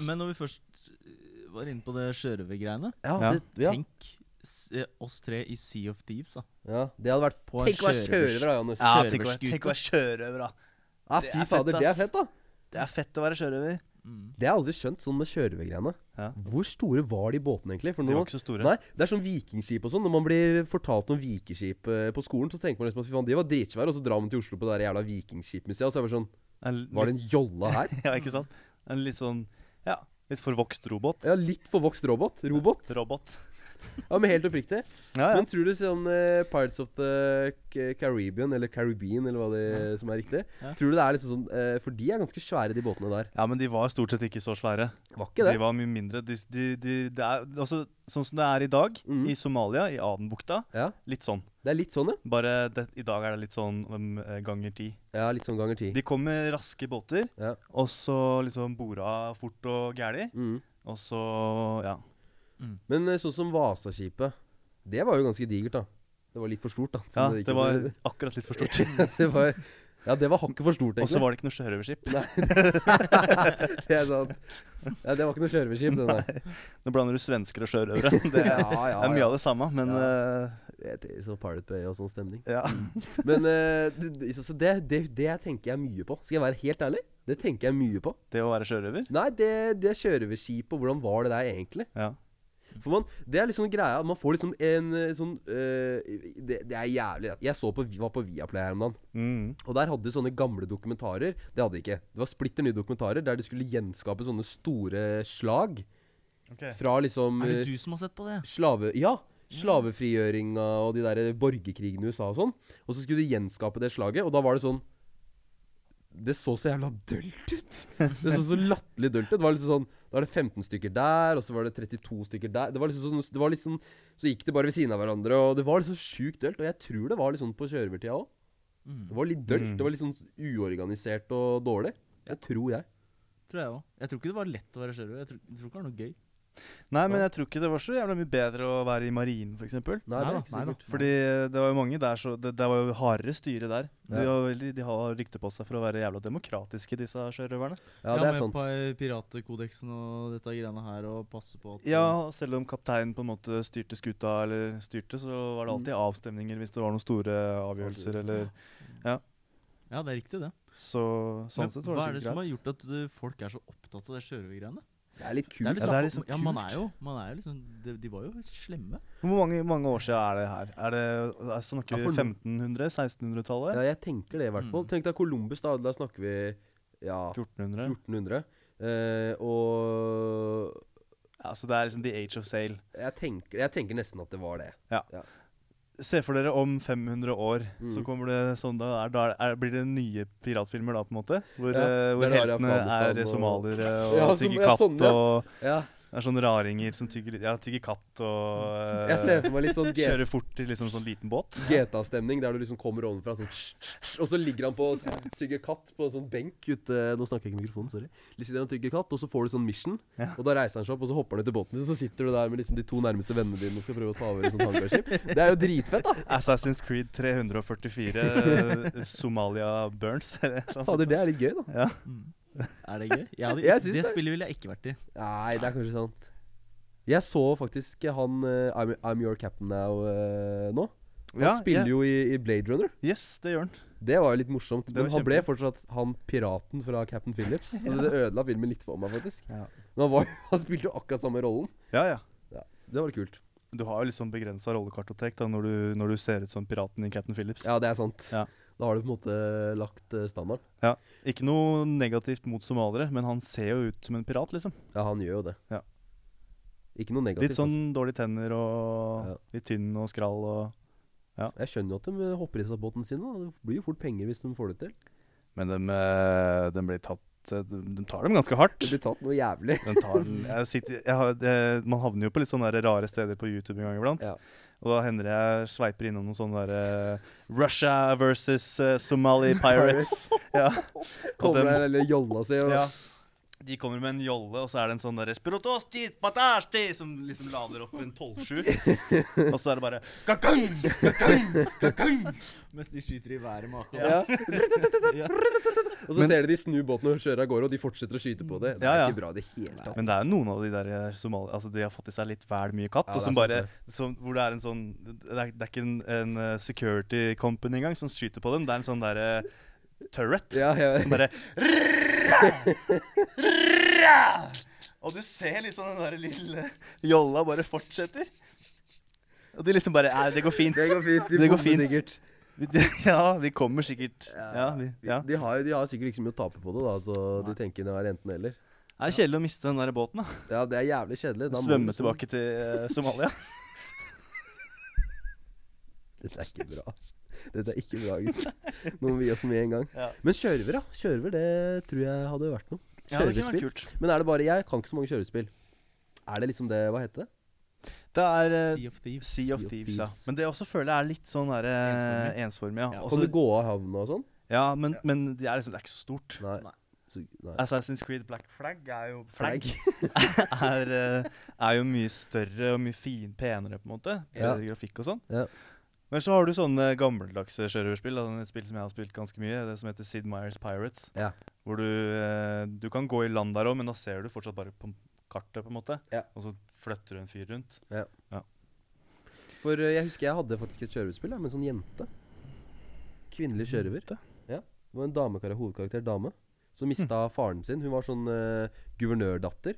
C: men når vi først eh, var inne på det sjørøvergreiene
A: Ja,
D: Ja.
A: det, ja.
C: Tenk s- eh, oss tre i Sea of Thieves, da.
A: ja, det hadde vært
C: På en
A: Tenk å være
C: kjørebus-
A: kjører, da, Johannes.
D: Ja,
A: Ja,
D: tenk å, være-
C: Sjørøverskuta.
D: tenk å være sjørøver, da. det
A: Ah, fy
D: er fett,
A: fader, det er
D: ass.
A: fett, da.
D: Det er fett å være sjørøver.
C: Mm.
A: Det har jeg aldri skjønt, sånn med sjørøvergreiene.
D: Ja.
A: Hvor store var de båtene, egentlig? For
D: De
A: nå
D: var ikke så store.
A: Nei, det er sånn vikingskip og sånn. Når man blir fortalt om vikingskip eh, på skolen, så tenker man liksom at fy faen, de var dritsvære, og så drar man til Oslo på det der jævla vikingskipmuseet, og så er det bare sånn
D: En
A: Var det en jolle her?
D: litt- Ja, ikke sant? En litt sånn ja, litt forvokst robot.
A: Ja, litt forvokst robot. Robot.
D: Robot.
A: Ja, men helt oppriktig.
D: Ja, ja.
A: Men tror du sånn eh, Pirates of the K- Caribbean, eller Caribbean, eller hva det som er riktig
C: Ja.
A: Tror du det er liksom sånn eh, For de er ganske svære, de båtene der.
D: ja, men de var stort sett ikke så svære.
A: Var ikke det?
D: De var mye mindre. De, de, de, det er, altså, sånn som det er i dag,
A: Mhm.
D: i Somalia, i Adenbukta,
A: Ja,
D: litt sånn.
A: Det er litt sånn, ja.
D: Bare det, i dag er det litt sånn um, eh, ganger ti.
A: Ja, Litt sånn ganger ti.
D: De kom med raske båter,
A: Ja.
D: og så liksom bora fort og gæli.
A: Mm.
D: Og så, ja.
A: Men eh, sånn som Vasaskipet, det var jo ganske digert, da. Det var litt for stort, da.
D: ja.
A: Så gikk
D: Det
A: jo-
D: var akkurat litt for stort.
A: det var, ja, det var hakket for stort,
D: Og så
A: egentlig.
D: var det ikke noe sjørøverskip.
A: Det, er sant. ja, det var ikke noe sjørøverskip, det der.
D: Nå blander du svensker og sjørøvere. Det er,
A: Ja, ja,
D: det er mye
A: ja.
D: av det samme, men eh,
A: Jeg tenker Så Pirate Bay og sånn stemning.
D: ja.
A: Men eh, det- det- så så det, det, det tenker jeg mye på. Skal jeg være helt ærlig? Det tenker jeg mye på.
D: Det å være sjørøver.
A: Nei, det, det sjørøverskipet, hvordan var det der egentlig?
D: Ja.
A: For man, Det er liksom greia. Man får liksom en eh, sånn eh, det, det er jævlig Jeg så på, var på Viaplay her om dagen.
D: Mm.
A: Og der hadde de sånne gamle dokumentarer. Det hadde de ikke. Det var splitter nye dokumentarer der de skulle gjenskape sånne store slag fra liksom
C: Er det
A: eh,
C: du som har sett på det?
A: slave... Ja! Slavefrigjøringa og de der borgerkrigene i USA og sånn. Og så skulle de gjenskape det slaget, og da var det sånn Det så så jævla dølt ut! Det så så latterlig dølt ut. Det var liksom sånn Da var det 15 stykker der, og så var det 32 stykker der. Det var liksom sånn, det var liksom, Så gikk det bare ved siden av hverandre, og det var liksom sjukt dølt. Og jeg tror det var litt sånn på kjørevertida òg.
C: Mm.
A: Det var litt dølt. Det var litt sånn uorganisert og dårlig. Det tror jeg.
C: Tror jeg òg. Jeg tror ikke det var lett å være sjørøver. Jeg tror, jeg tror ikke det var noe gøy.
D: Nei, men jeg tror ikke det var så jævla mye bedre å være i marinen, f.eks.
A: Nei, det
C: Nei
A: er
C: da,
A: ikke
C: nei da.
A: sikkert.
D: Fordi det var jo mange der, så det, det var jo hardere styre der. De,
A: Ja.
D: har veldig, de har rykte på seg for å være jævla demokratiske, disse sjørøverne.
A: Ja, det er
C: med
A: sant.
C: pi- Piratkodeksen og dette greiene her, og passe på at
D: Ja, selv om kapteinen på en måte styrte skuta, eller styrte, så var det alltid avstemninger hvis det var noen store avgjørelser, eller
C: Ja, det er riktig, det.
D: Så sånn
C: Men
D: sett
C: hva
D: var
C: er
D: det
C: det
D: så
C: som har
D: greit.
C: gjort at uh, folk er så opptatt av det sjørøvergreiene?
A: Det er litt
C: Det er
A: kult.
C: liksom,
D: det er
C: at-
D: liksom
C: ja, man
D: kult.
C: er jo, man er jo liksom de, de var jo slemme.
D: Hvor mange, mange år siden er det her? Er det, er, snakker
A: Ja,
D: vi
A: for nå-
D: 1500? 1600-tallet?
A: Ja, jeg tenker det i hvert fall.
C: Mm.
A: Tenk deg Columbus, da. Da snakker vi ja,
D: 1400?
A: 1400. Eh, og
D: Ja, så det er liksom the age of sale.
A: jeg tenker, jeg tenker nesten at det var det.
D: Se for dere om 500 år, så
A: Mm.
D: kommer det sånn da, er, da er, er, blir det nye piratfilmer da, på en måte? Hvor,
A: Ja,
D: eh,
A: så
D: hvor
A: det er da i
D: heltene er
A: Afghanistan og-
D: somaliere og
A: Ja, som-
D: tygger
A: ja,
D: katt
A: sånn, ja.
D: og
A: Ja,
D: er sånne raringer som tygger, litt- ja, tygger katt og
A: jeg ser
D: eh,
A: for meg litt sånn G-
D: kjører fort i liksom sånn liten båt.
A: GTA-stemning, der du liksom kommer ovenfra sånn Og så ligger han på og s- tygger katt på en sånn benk ute Nå snakker jeg ikke i mikrofonen, sorry. Sitter han og tygger katt, og så får du sånn mission.
D: Ja.
A: Og da reiser han seg opp, og så hopper han ut i båten din, og så sitter du der med liksom de to nærmeste vennene dine og skal prøve å ta over et sånt hangarskip. Det er jo dritfett, da!
D: Assassin's Creed 344, eh, Somalia Burns, eller noe sånt.
A: Fader, det er litt gøy, da.
C: Er det gøy? Jeg hadde,
A: Jeg
C: det,
A: syns det.
C: spillet ville jeg ikke vært i.
A: Nei, det er kanskje sant. Jeg så faktisk han eh, I'm, I'm Your Captain Now eh, nå. Han
D: Ja,
A: spiller jo i, i Blade Runner.
D: Yes, det gjør den.
A: Det var jo litt morsomt.
D: var
A: Men han ble
D: kjempe.
A: fortsatt han piraten fra Captain Phillips. Så det ødela filmen litt for meg, faktisk.
D: Ja.
A: Men han, var, han spilte jo akkurat samme rollen.
D: Ja, ja.
A: Det var litt kult.
D: Du har jo liksom begrensa rollekartotek da, når du, når du ser ut som piraten i Captain Phillips.
A: Ja, det er sant.
D: Ja.
A: Da har du på en måte lagt eh, standarden.
D: Ikke noe negativt mot somaliere, men han ser jo ut som en pirat, liksom.
A: Ja, han gjør jo det.
D: Ja.
A: Ikke noe negativt.
D: Litt sånn dårlige tenner og
A: Ja.
D: litt tynn og skrall og
A: altså. Jeg skjønner jo at de hopper i seg båten sin. Da. Det blir jo fort penger hvis de får det til.
D: Men den, blir tatt eh, de de tar dem ganske hardt.
A: Det blir tatt noe jævlig.
D: Den tar, jeg sitter, jeg har, det, man havner jo på litt sånne der rare steder på YouTube en gang iblant.
A: Ja.
D: Og da hender det jeg sveiper innom noen sånne der eh, Russia versus eh, Somali Pirates. ja.
A: Kommer
D: dem-
A: der eller jolla si og
D: ja. De kommer med en jolle, og så er det en sånn derre Spirotosti, patasti, som liksom lader opp en 12-7. Og så er det bare kakang, kakang, kakang.
C: Mens de skyter i været med AK.
A: Ja.
C: Ja.
A: Og så ser du de snu båten og kjører av gårde, og de fortsetter å skyte på det. Det er
D: Ja, ja.
A: ikke bra i det hele tatt.
D: Men det er jo noen av de der somaliere Altså, de har fått i seg litt vel mye katt.
A: Ja,
D: og
A: det er
D: som
A: sant
D: bare som, Hvor det er en sånn Det er, det er ikke en, en eh, security company engang som skyter på dem. Det er en sånn derre turret
A: Ja, ja.
D: som bare rrrra, rrrra. Og du ser liksom den der lille jolla bare fortsetter. Og de liksom bare Nei, det går fint.
A: Det går fint. De
D: Det går
A: bomber
D: fint.
A: sikkert.
D: Vi- Ja, vi kommer sikkert. Ja, vi, ja.
A: De, har, de har sikkert ikke så mye å tape på det, da, så de tenker det er enten-eller.
D: Det er kjedelig å miste den der båten, da.
A: Ja, det er jævlig kjedelig. Da må
D: Svømme
A: du liksom-
D: tilbake til eh, Somalia.
A: Dette er ikke bra. Dette er ikke bra, gutt. Nå må vi gi oss med en gang.
D: Ja.
A: Men kjørver, ja. Kjørver, det tror jeg hadde vært noe.
D: Ja, det kunne vært
A: Kjørespill.
D: kult.
A: Men er det bare Jeg kan ikke så mange kjørespill. Er det liksom det Hva heter det?
D: Det er eh,
C: Sea of Thieves.
D: Sea
A: Sea
D: of
A: of
D: Thieves, ja.
A: Thieves.
D: Men det også føler jeg er litt sånn der, eh, ensformig. Ja.
C: Ja.
A: kan
D: Også,
A: du gå av havna og sånn?
D: ja, men, men det er liksom det er ikke så stort.
A: Nei.
C: Nei.
A: Så, nei.
D: Assassin's Creed Black Flag er jo
A: Flagg.
D: er, eh, er jo mye større og mye fin, penere, på en måte.
A: Ja.
D: Bedre grafikk og sånn.
A: Ja.
D: Men så har du sånne gammeldagse sjørøverspill. da, Et spill som jeg har spilt ganske mye, det som heter Sid Meyers Pirates.
A: Ja.
D: Hvor du, eh, du kan gå i land der òg, men da ser du fortsatt bare på kartet, på en måte.
A: Ja.
D: Og så flytter du en fyr rundt.
A: For eh, jeg husker jeg hadde faktisk et kjørespill ja, med en sånn jente. Kvinnelig kjørever. Ja. Det var en damekar hovedkarakter, dame, som mista faren sin. Hun var sånn eh, guvernørdatter.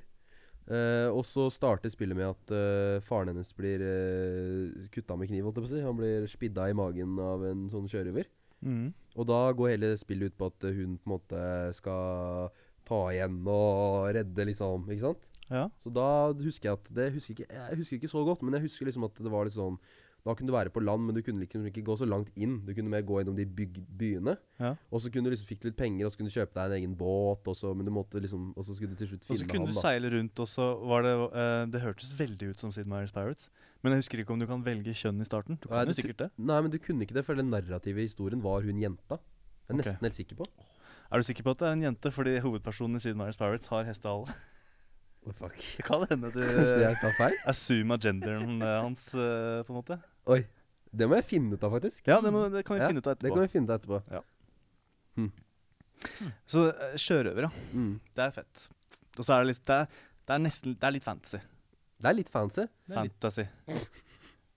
A: Eh, og så starter spillet med at eh, faren hennes blir uh, kutta med kniv. Holdt jeg på å si. Han blir spidda i magen av en sånn kjørever.
D: Mm.
A: Og da går hele spillet ut på at hun på en måte skal ta igjen og redde, liksom. Ikke sant?
D: Ja.
A: Så da husker jeg at det husker ikke, Jeg husker ikke så godt, men jeg husker liksom at det var litt sånn Da kunne du være på land, men du kunne liksom ikke gå så langt inn. Du kunne mer gå gjennom de byg, byene.
D: Ja.
A: Og så kunne du liksom fikk du litt penger, og så kunne du kjøpe deg en egen båt, og så, men du måtte liksom Og så skulle du til slutt
D: Og så
A: finne
D: kunne
A: han,
D: du
A: da.
D: seile rundt, og så var det eh, Det hørtes veldig ut som Sid Meier's Pirates. Men jeg husker ikke om du kan velge kjønn i starten. Du
A: Nei,
D: kan jo
A: det-
D: sikkert det.
A: Nei, men du kunne ikke det, for den narrative historien var hun jenta. Jeg er
D: Ok.
A: nesten helt sikker på.
D: Er du sikker på at det er en jente? Fordi hovedpersonen i Sid Meier's Pirates har hestehale.
A: Oh, fuck.
D: Det kan hende du
A: Kanskje jeg tar feil?
D: assuma genderen eh, hans, eh, på en måte.
A: Oi. Det må jeg finne ut av, faktisk.
D: Ja, det, må, det kan vi
A: Ja,
D: finne ut av
A: Det kan
D: etterpå.
A: vi finne ut av etterpå.
D: Så uh, sjørøver, ja.
A: Mm.
D: Det er fett. Og så er det litt Det er, det er nesten Det er litt fantasy.
A: Det er litt fancy.
C: er litt-
D: Fantasy.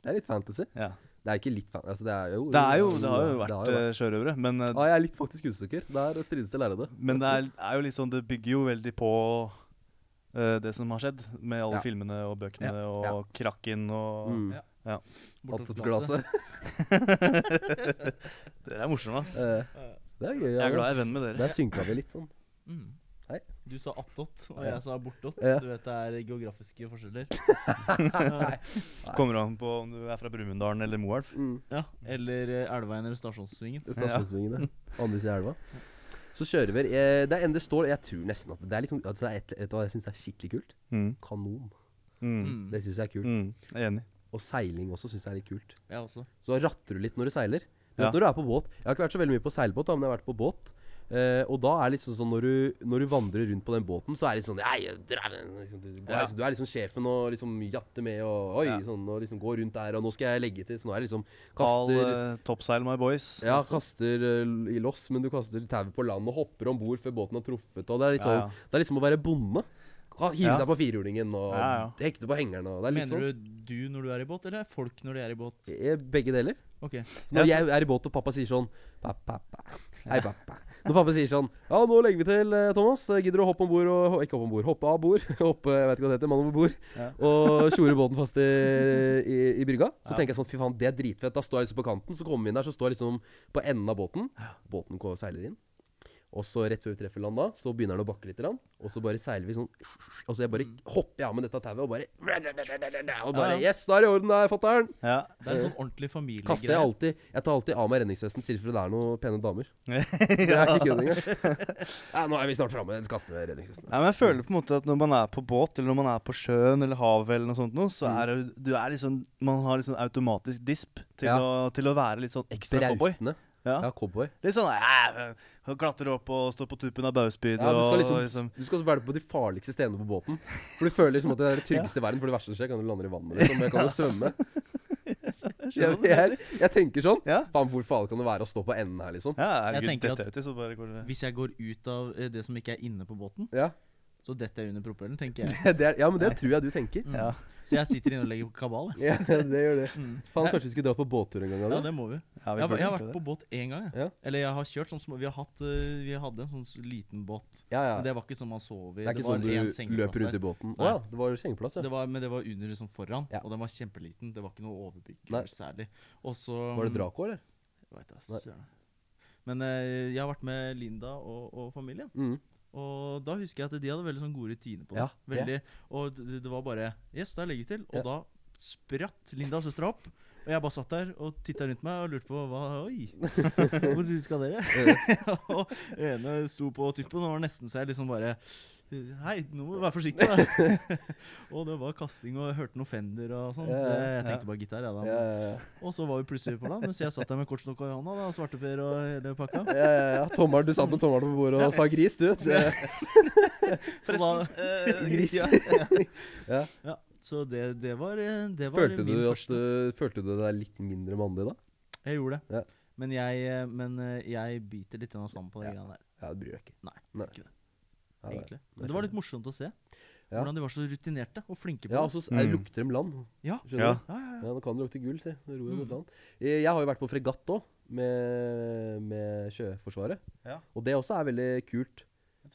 A: Det er litt fantasy.
D: Ja.
A: Det er ikke litt fancy. Altså, det er jo
D: Det er jo Det har jo
A: det
D: vært eh, sjørøvere, men eh,
A: Ja, jeg er litt faktisk usikker. Der strides det lærde.
D: Men det er, er jo litt sånn, det bygger jo veldig på eh, det som har skjedd, med alle
A: Ja.
D: filmene og bøkene og
A: Ja.
D: krakken og
A: Mm.
C: Ja.
A: Alt
C: Bortåt
A: et glasset.
D: Dere er morsomme, ass.
A: Eh, det er gøy.
D: Jeg er glad
A: det.
D: jeg er venn med dere.
A: Der synka vi litt sånn.
C: Mm.
A: Hei.
C: Du sa attåt, og
A: Ja.
C: jeg sa bortåt.
A: Ja.
C: Du vet det er geografiske forskjeller.
D: Kommer an på om du er fra Brumunddalen eller Moelv.
A: Mm.
C: Ja, Eller eh, Elveveien eller Stasjonssvingen.
A: Stasjonssvingene. Andre siden av elva. Så kjører vi. Eh, Det er en det står Jeg tror nesten at det er liksom at det er et, Vet du hva jeg syns er skikkelig kult?
D: Mm.
A: Kanon.
D: Mm.
C: Mm.
A: Det syns jeg er kult.
D: Mm. Jeg er enig.
A: Og seiling også syns jeg er litt kult.
C: Mm, Jeg også.
A: Så ratter du litt når du seiler. Du
D: Ja.
A: vet Når du er på båt Jeg har ikke vært så veldig mye på seilbåt, da, men jeg har vært på båt. Eh, og da er det liksom sånn når du, når du vandrer rundt på den båten, så er det sånn «Nei, jeg drev den», liksom, du, går,
D: Ja.
A: liksom, du er liksom sjefen og liksom jatter med og oi,
D: Ja.
A: sånn, og liksom går rundt der, og nå skal jeg legge til. Så nå er det liksom
D: All
A: kaster
D: eh, topsail, my boys.
A: Ja, kaster eh, i loss, men du kaster tauet på land og hopper om bord før båten har truffet. Og det er liksom,
D: Ja, ja.
A: Det er liksom å være bonde. Ka- Hive
D: Ja.
A: seg på firhjulingen og
D: Ja, ja.
A: hekte på hengeren og det er litt
C: Mener
A: sånn.
C: du du når du er i båt, eller folk når de er i båt?
A: Eh, Begge deler.
C: Ok.
A: Når jeg er i båt og pappa sier sånn pappa, pappa, hei, pappa. Når pappa sier sånn Ja, nå legger vi til, eh, Thomas. Eh, Gidder du å hoppe om bord og Ikke hoppe om bord. Hoppe av bord. Hoppe, jeg vet ikke hva det heter. Mann over bord.
D: Ja.
A: Og tjore båten fast i, i, i brygga. Så
D: Ja.
A: tenker jeg sånn Fy faen, det er dritfett. Da står jeg liksom på kanten. Så kommer vi inn der, så står jeg liksom på enden av båten. Båten går og seiler inn. Og så rett før vi treffer land da, så begynner han å bakke litt. grann, Og så bare seiler vi sånn Og så jeg
D: Mm.
A: bare hopper jeg av med dette tauet og bare Og bare
C: Ja, ja.
A: Yes, da er det i orden, der, fatter'n!
D: Ja.
C: Det er en sånn
A: Kaster
C: ordentlig
A: jeg
C: familiegreie.
A: alltid Jeg tar alltid av meg redningsvesten i tilfelle det er noen pene damer. Det er ikke kødd engang. Ja, nå er vi snart framme. Kaster med redningsvesten.
D: Nei, men jeg føler på en måte at når man er på båt, eller når man er på sjøen eller havet, eller noe sånt noe,
A: Mm.
D: så er det- du er liksom Man har liksom automatisk disp til,
A: Ja.
D: å, til å være litt sånn ekstra cowboy.
A: Brautende.
D: Ja.
A: Ja, cowboy.
D: Litt sånn eh, klatre opp og stå på tuppen av baustbydet
A: Ja, du skal liksom,
D: og liksom
A: Du skal også være på de farligste stedene på båten. For du føler liksom at det er det tryggeste i verden, for det verste som skjer, kan du lande i vannet. Liksom. Men jeg kan jo svømme. Jeg, jeg, jeg tenker sånn.
D: Ja.
A: Faen, hvor farlig kan det være å stå på enden her, liksom?
D: Ja, herregud,
C: Jeg tenker
D: dette
C: at-
D: uti, så bare går det
C: Hvis jeg går ut av eh, det som ikke er inne på båten,
A: Ja,
C: så detter jeg under propellen, tenker jeg. Mm.
A: det er, ja men det tror jeg du tenker.
D: Ja.
C: Så jeg sitter inne og legger kabal. jeg.
A: Ja, det gjør det. Faen,
C: Nei.
A: kanskje vi skulle dratt på båttur en gang?
C: Ja,
A: Adam?
C: det må vi.
D: Ja, vi
C: Jeg, har-
D: burde
C: jeg har
D: egentlig
C: vært på båt én gang. Jeg.
A: Ja.
C: Eller jeg har kjørt sånn små Vi, har hatt, eh, vi hadde en sånn s- liten båt.
A: Ja, ja.
C: Men
A: Det
C: det var ikke sånn man sov i.
A: er ikke
C: var
A: sånn
C: én
A: du
C: sengeplass
A: løper ut
C: der.
A: i båten? Å
C: Nei.
A: ja, det var sengeplass, ja.
C: Det var, men det var under liksom foran,
A: Ja.
C: og den var kjempeliten. Det var ikke noe overbygg
A: Nei.
C: særlig. Og så
A: Var det Draco, eller?
C: Jeg vet da,
A: Nei.
C: søren. Men eh, jeg har vært med Linda og, og familien.
A: Mm.
C: Og da husker jeg at de hadde veldig sånn gode rutiner på det.
A: Ja,
C: veldig, Og det, det var bare Yes, da legger vi til. Og
A: Ja.
C: da spratt Linda og søstera opp. Og jeg bare satt der og titta rundt meg og lurte på hva Oi, hvor skal dere? og ene sto på tuppen og var nesten så jeg liksom bare Hei, nå må du være forsiktig, da. og det var kasting og jeg hørte noe Fender og sånn.
A: Ja, ja,
C: Det- Jeg
D: ja.
C: tenkte bare gitar, jeg da.
A: Ja, ja, ja.
C: Og så var vi plutselig på land, mens jeg satt der med kortstokka i hånda da, og svarteper og hele pakka.
A: ja, ja, ja. Tommelen, du satt med tommelen på bordet og sa gris, du. Det,
C: Så da,
A: gris.
C: Ja, så det, det var, eh, det var
A: Følte du,
C: min
A: at,
C: første.
A: uh, følte du deg litt mindre mandig da?
C: Jeg gjorde det.
A: Ja.
C: Men, jeg, eh, men eh, jeg biter litt grann av slammen på de
A: Ja.
C: greiene der.
A: Ja, det bryr jeg ikke.
C: Nei,
A: Nei.
C: ikke det,
A: Ja, det-
C: egentlig. Men det var litt morsomt å se.
A: Ja.
C: Hvordan de var så rutinerte og flinke på
A: Ja, altså- og så
C: det.
A: s- er-
D: Mm.
A: lukter de land.
C: Ja.
A: Skjønner
D: Ja.
A: du?
C: Ja, ja,
A: Ja,
C: ja.
A: nå kan det lukte gull, si. Det ror jo mot
C: Mm.
A: land. Eh, Jeg har jo vært på fregatt òg, med, med Sjøforsvaret.
D: Ja.
A: Og det også er veldig kult.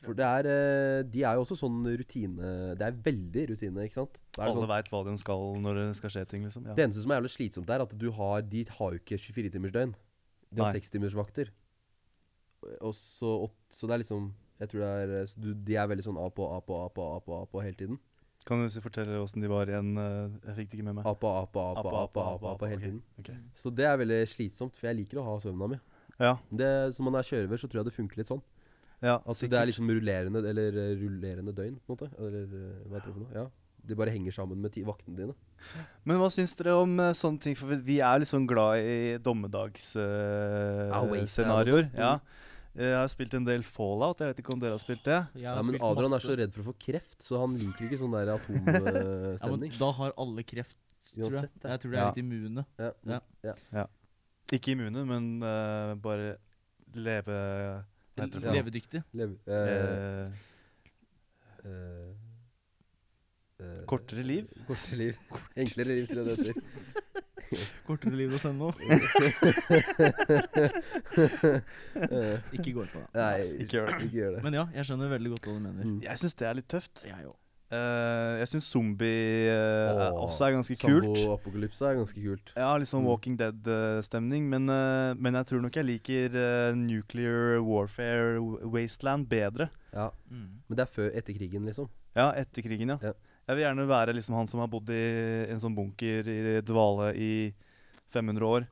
A: For det er, eh, de er jo også sånn rutine Det er veldig rutine, ikke sant? Det, er
D: Alle
A: sånn,
D: vet veit hva de skal når det skal skje ting, liksom. Ja.
A: det eneste som er jævlig slitsomt, er at du har, de har jo ikke 24-timersdøgn. De har
D: Nei.
A: 6-timersvakter. Og så, åt- så det er liksom Jeg tror det er eh, så du, De er veldig sånn A på, A på, A på, A på, A på hele tiden.
D: Kan du si- fortelle åssen de var igjen? eh, Jeg fikk det ikke med meg.
A: A på, A på, A på, A på, A på, A på hele tiden.
D: Ok.
A: Så det er veldig slitsomt, for jeg liker å ha søvna mi.
D: Ja.
A: Det, som man er sjørøver, så tror jeg det funker litt sånn.
D: ja
A: At det
D: sikkert.
A: er liksom rullerende, eller eh, rullerende døgn, på en måte. Eller eh, hva heter det for noe? Ja. De bare henger sammen med ti vaktene dine.
D: Men hva syns dere om eh, sånne ting? For vi- vi er litt sånn glad i
A: Ah, waste, ja, også.
D: dommedagsscenarioer. ja. Eh, Jeg har spilt en del Fallout. Jeg vet ikke om dere har spilt det?
C: Jeg
A: Ja,
C: har
A: men
C: spilt
A: Adrian
C: masse.
A: er så redd for å få kreft, så han liker ikke sånn der atomstemning.
C: ja, men Da har alle kreft, tror jeg.
A: Uansett, ja.
C: Jeg tror de er
D: Ja.
C: litt immune.
A: ja,
C: Ja.
D: Ikke immune, men eh, bare leve Hva heter det? for noe?
C: Levedyktig.
A: lev- eh,
D: Eh,
A: eh, eh,
D: kortere liv?
A: Kortere liv. Enklere liv, tror jeg det heter.
C: Kortereliv.no.
A: Eh,
C: Ikke gå inn på det.
A: nei,
D: Ikke gjør det.
A: ikke gjør det.
C: Men ja, jeg skjønner veldig godt hva du mener.
A: Mm.
D: Jeg syns det er litt tøft.
C: Jeg òg.
D: Eh, jeg syns zombie eh, er-
A: Åh,
D: også er ganske kult.
A: Samboapokalypse er ganske kult.
D: Ja, litt sånn
A: Mm.
D: Walking Dead-stemning. Men, eh, men jeg tror nok jeg liker eh, Nuclear Warfare w- Wasteland bedre.
A: Ja,
C: Mm.
A: Men det er før, etter krigen, liksom.
D: Ja, etter krigen, ja.
A: Ja.
D: Jeg vil gjerne være liksom han som har bodd i en sånn bunker i dvale i 500 år.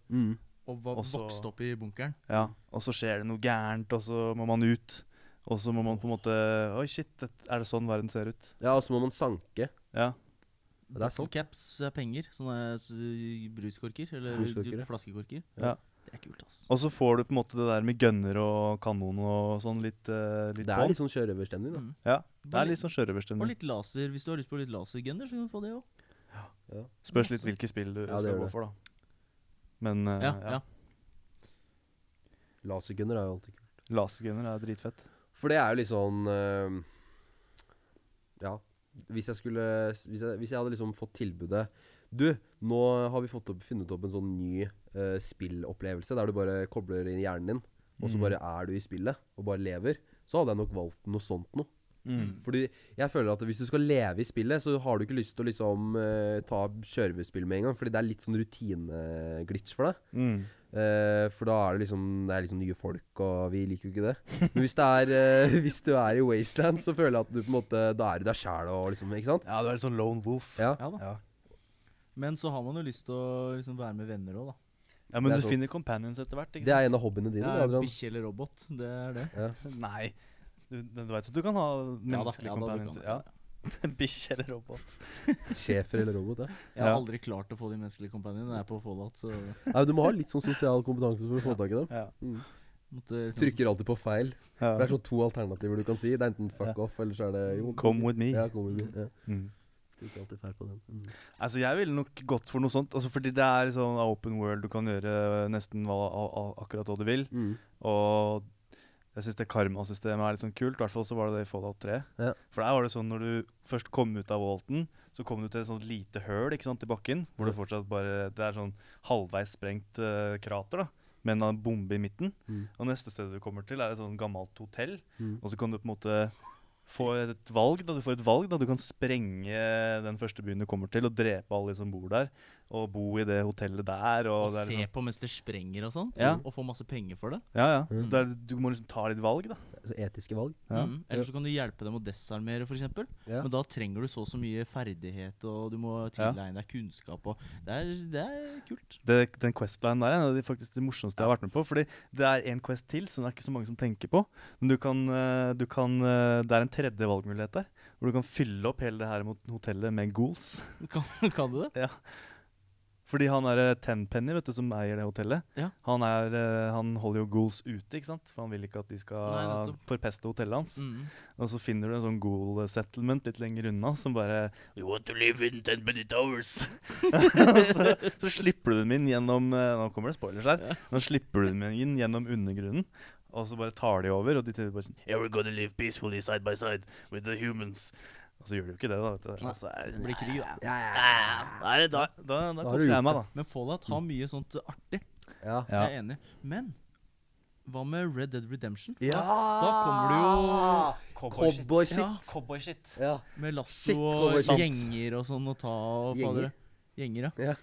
C: Og hva,
D: Også-
C: vokste opp i bunkeren.
D: Ja, Og så skjer det noe gærent, og så må man ut. Og så må man på en måte Oi, shit, det, er det sånn verden ser ut?
A: Ja, og så må man sanke. Ja,
D: Ja.
A: det er
C: Bottle
A: sant.
C: caps er eh, penger. Sånne s- bruskorker. Eller
A: Bruskorker,
C: du-
A: ja.
C: flaskekorker.
D: Ja.
C: Det er kult, ass.
D: Og så får du på en måte det der med gunner og kanon og sånn litt, eh, litt
A: Det er
D: på.
A: litt sånn sjørøverstemning, da.
C: Mm.
D: Ja, det
C: Bare
D: er litt sånn
C: Og
D: sjørøverstemning.
C: litt laser. Hvis du har lyst på litt lasergener, så kan du få det òg.
D: Spørs litt hvilke spill du
A: Ja, det
D: skal
A: gjør
D: gå
A: det.
D: for, da. Men eh,
C: Ja,
D: ja,
C: ja.
A: Lasergunner er jo alltid kult.
D: lasergunner er dritfett.
A: For det er jo litt sånn eh, Ja. Hvis jeg skulle hvis jeg, hvis jeg hadde liksom fått tilbudet Du, nå har vi fått opp, funnet opp en sånn ny eh, spillopplevelse der du bare kobler inn hjernen din, og så
D: Mm.
A: bare er du i spillet og bare lever. Så hadde jeg nok valgt noe sånt noe.
D: Mm.
A: Fordi jeg føler at hvis du skal leve i spillet, så har du ikke lyst til å liksom eh, ta kjørespill med en gang, fordi det er litt sånn rutineglitch for deg.
D: Mm.
A: Eh, for da er det liksom Det er liksom nye folk, og vi liker jo ikke det. Men hvis, det er, eh, hvis du er i Wasteland, så føler jeg at du på en måte Da er du deg sjæl og liksom Ikke sant?
D: Ja, du er litt sånn lone wolf.
A: Ja.
C: Ja da.
D: Ja.
C: Men så har man jo lyst til å liksom være med venner òg, da.
D: Ja,
A: Det
D: men
A: er
D: du
A: sant.
D: finner companions etter hvert. ikke
A: Det er en av hobbyene dine, det,
C: Ja,
A: Adrian.
C: Bikkje eller robot, det er det.
D: sant? Nei. Du, du veit at du kan ha menneskelige
C: ja da, du
D: companions?
C: kan.
D: Ja. Bikkje eller robot.
A: Schæfer eller robot. Ja.
C: Jeg har
D: Ja.
C: aldri klart å få de menneskelige kompanjene. Det er på Fallout, så jeg
A: Nei, men du må ha litt sånn sosial kompetanse for å få tak i dem. Mm.
D: Ja.
C: måtte liksom
A: Trykker alltid på feil. For Det er
D: Ja.
A: sånn to alternativer du kan si. Det er enten fuck off, eller så er det jo
D: Come with me.
A: Ja, come with me. Ja.
D: Mm.
A: Trykker alltid feil på den. Mm.
D: Altså, jeg ville nok gått for noe sånt. Altså, fordi det er sånn open world, du kan gjøre nesten hva, a, a, akkurat hva du vil.
A: Mm.
D: Og jeg syns det karmasystemet er litt sånn kult. I hvert fall så var det det i Fallout 3.
A: Ja.
D: For der var det sånn når du først kom ut av Walton, så kom du til et sånt lite høl ikke sant, i bakken. Hvor det fortsatt bare Det er sånn halvveis sprengt eh, krater, da. Med en bombe i midten.
A: Mm.
D: Og neste sted du kommer til, er et sånn gammelt hotell.
A: Mm.
D: Og så kan du på en måte få et valg, da. Du får et valg, da. Du kan sprenge den første byen du kommer til, og drepe alle de som bor der. Og bo i det hotellet der. Og,
C: Og
D: det er
C: se
D: liksom-
C: på mens det sprenger og sånn,
D: Ja.
C: og få masse penger for det.
D: Ja, ja. Så
A: Mm.
D: det er- du må liksom ta litt valg, da.
A: Så etiske valg.
D: Ja.
C: Mm. Eller så kan du hjelpe dem å desarmere, f.eks. eksempel
A: Ja.
C: Men da trenger du så og så mye ferdighet, og du må tilegne deg kunnskap, og det er, det er kult.
D: det, den questline der er en av de faktisk det morsomste jeg har vært med på. Fordi det er en quest til som det er ikke så mange som tenker på. Men du kan, eh, du kan eh, Det er en tredje valgmulighet der. Hvor du kan fylle opp hele det her mot hotellet med ghouls.
C: Kan, kan du det?
D: Fordi han er eh, Tenpenny, vet du, som eier det hotellet.
C: Ja.
D: Han, er, eh, han holder jo ghouls ute, ikke sant? for han vil ikke at de
C: Nei,
D: skal
C: nettopp.
D: forpeste hotellet hans.
C: Mm.
D: Og så finner du en sånn ghoul settlement litt lenger unna som bare You want to live in 10 minute hours? Og så, så slipper du dem inn gjennom eh, Nå kommer det spoilers her. Nå slipper du dem inn gjennom undergrunnen. Og så bare tar de over, og de tenker bare sånn Yeah, we're gonna live peacefully side by side with the humans. Og så gjør de jo ikke det, da. vet du. Altså, er,
C: Det blir krig, da.
D: da, er det da, da,
A: har
D: da
A: du
D: koser
A: gjort
D: jeg meg, da.
C: Men Fallout har mye sånt artig.
A: Mm. Ja.
D: Ja.
C: Jeg er enig. Men hva med Red Dead Redemption?
A: ja.
C: Da kommer du jo
A: Cowboyshit.
C: Ja.
E: Cowboyshit.
A: Ja.
C: med lasso
A: Shit,
C: og
A: cowboy shit.
C: gjenger og sånn og ta og
A: Gjenger?
C: fader. Gjenger, ja.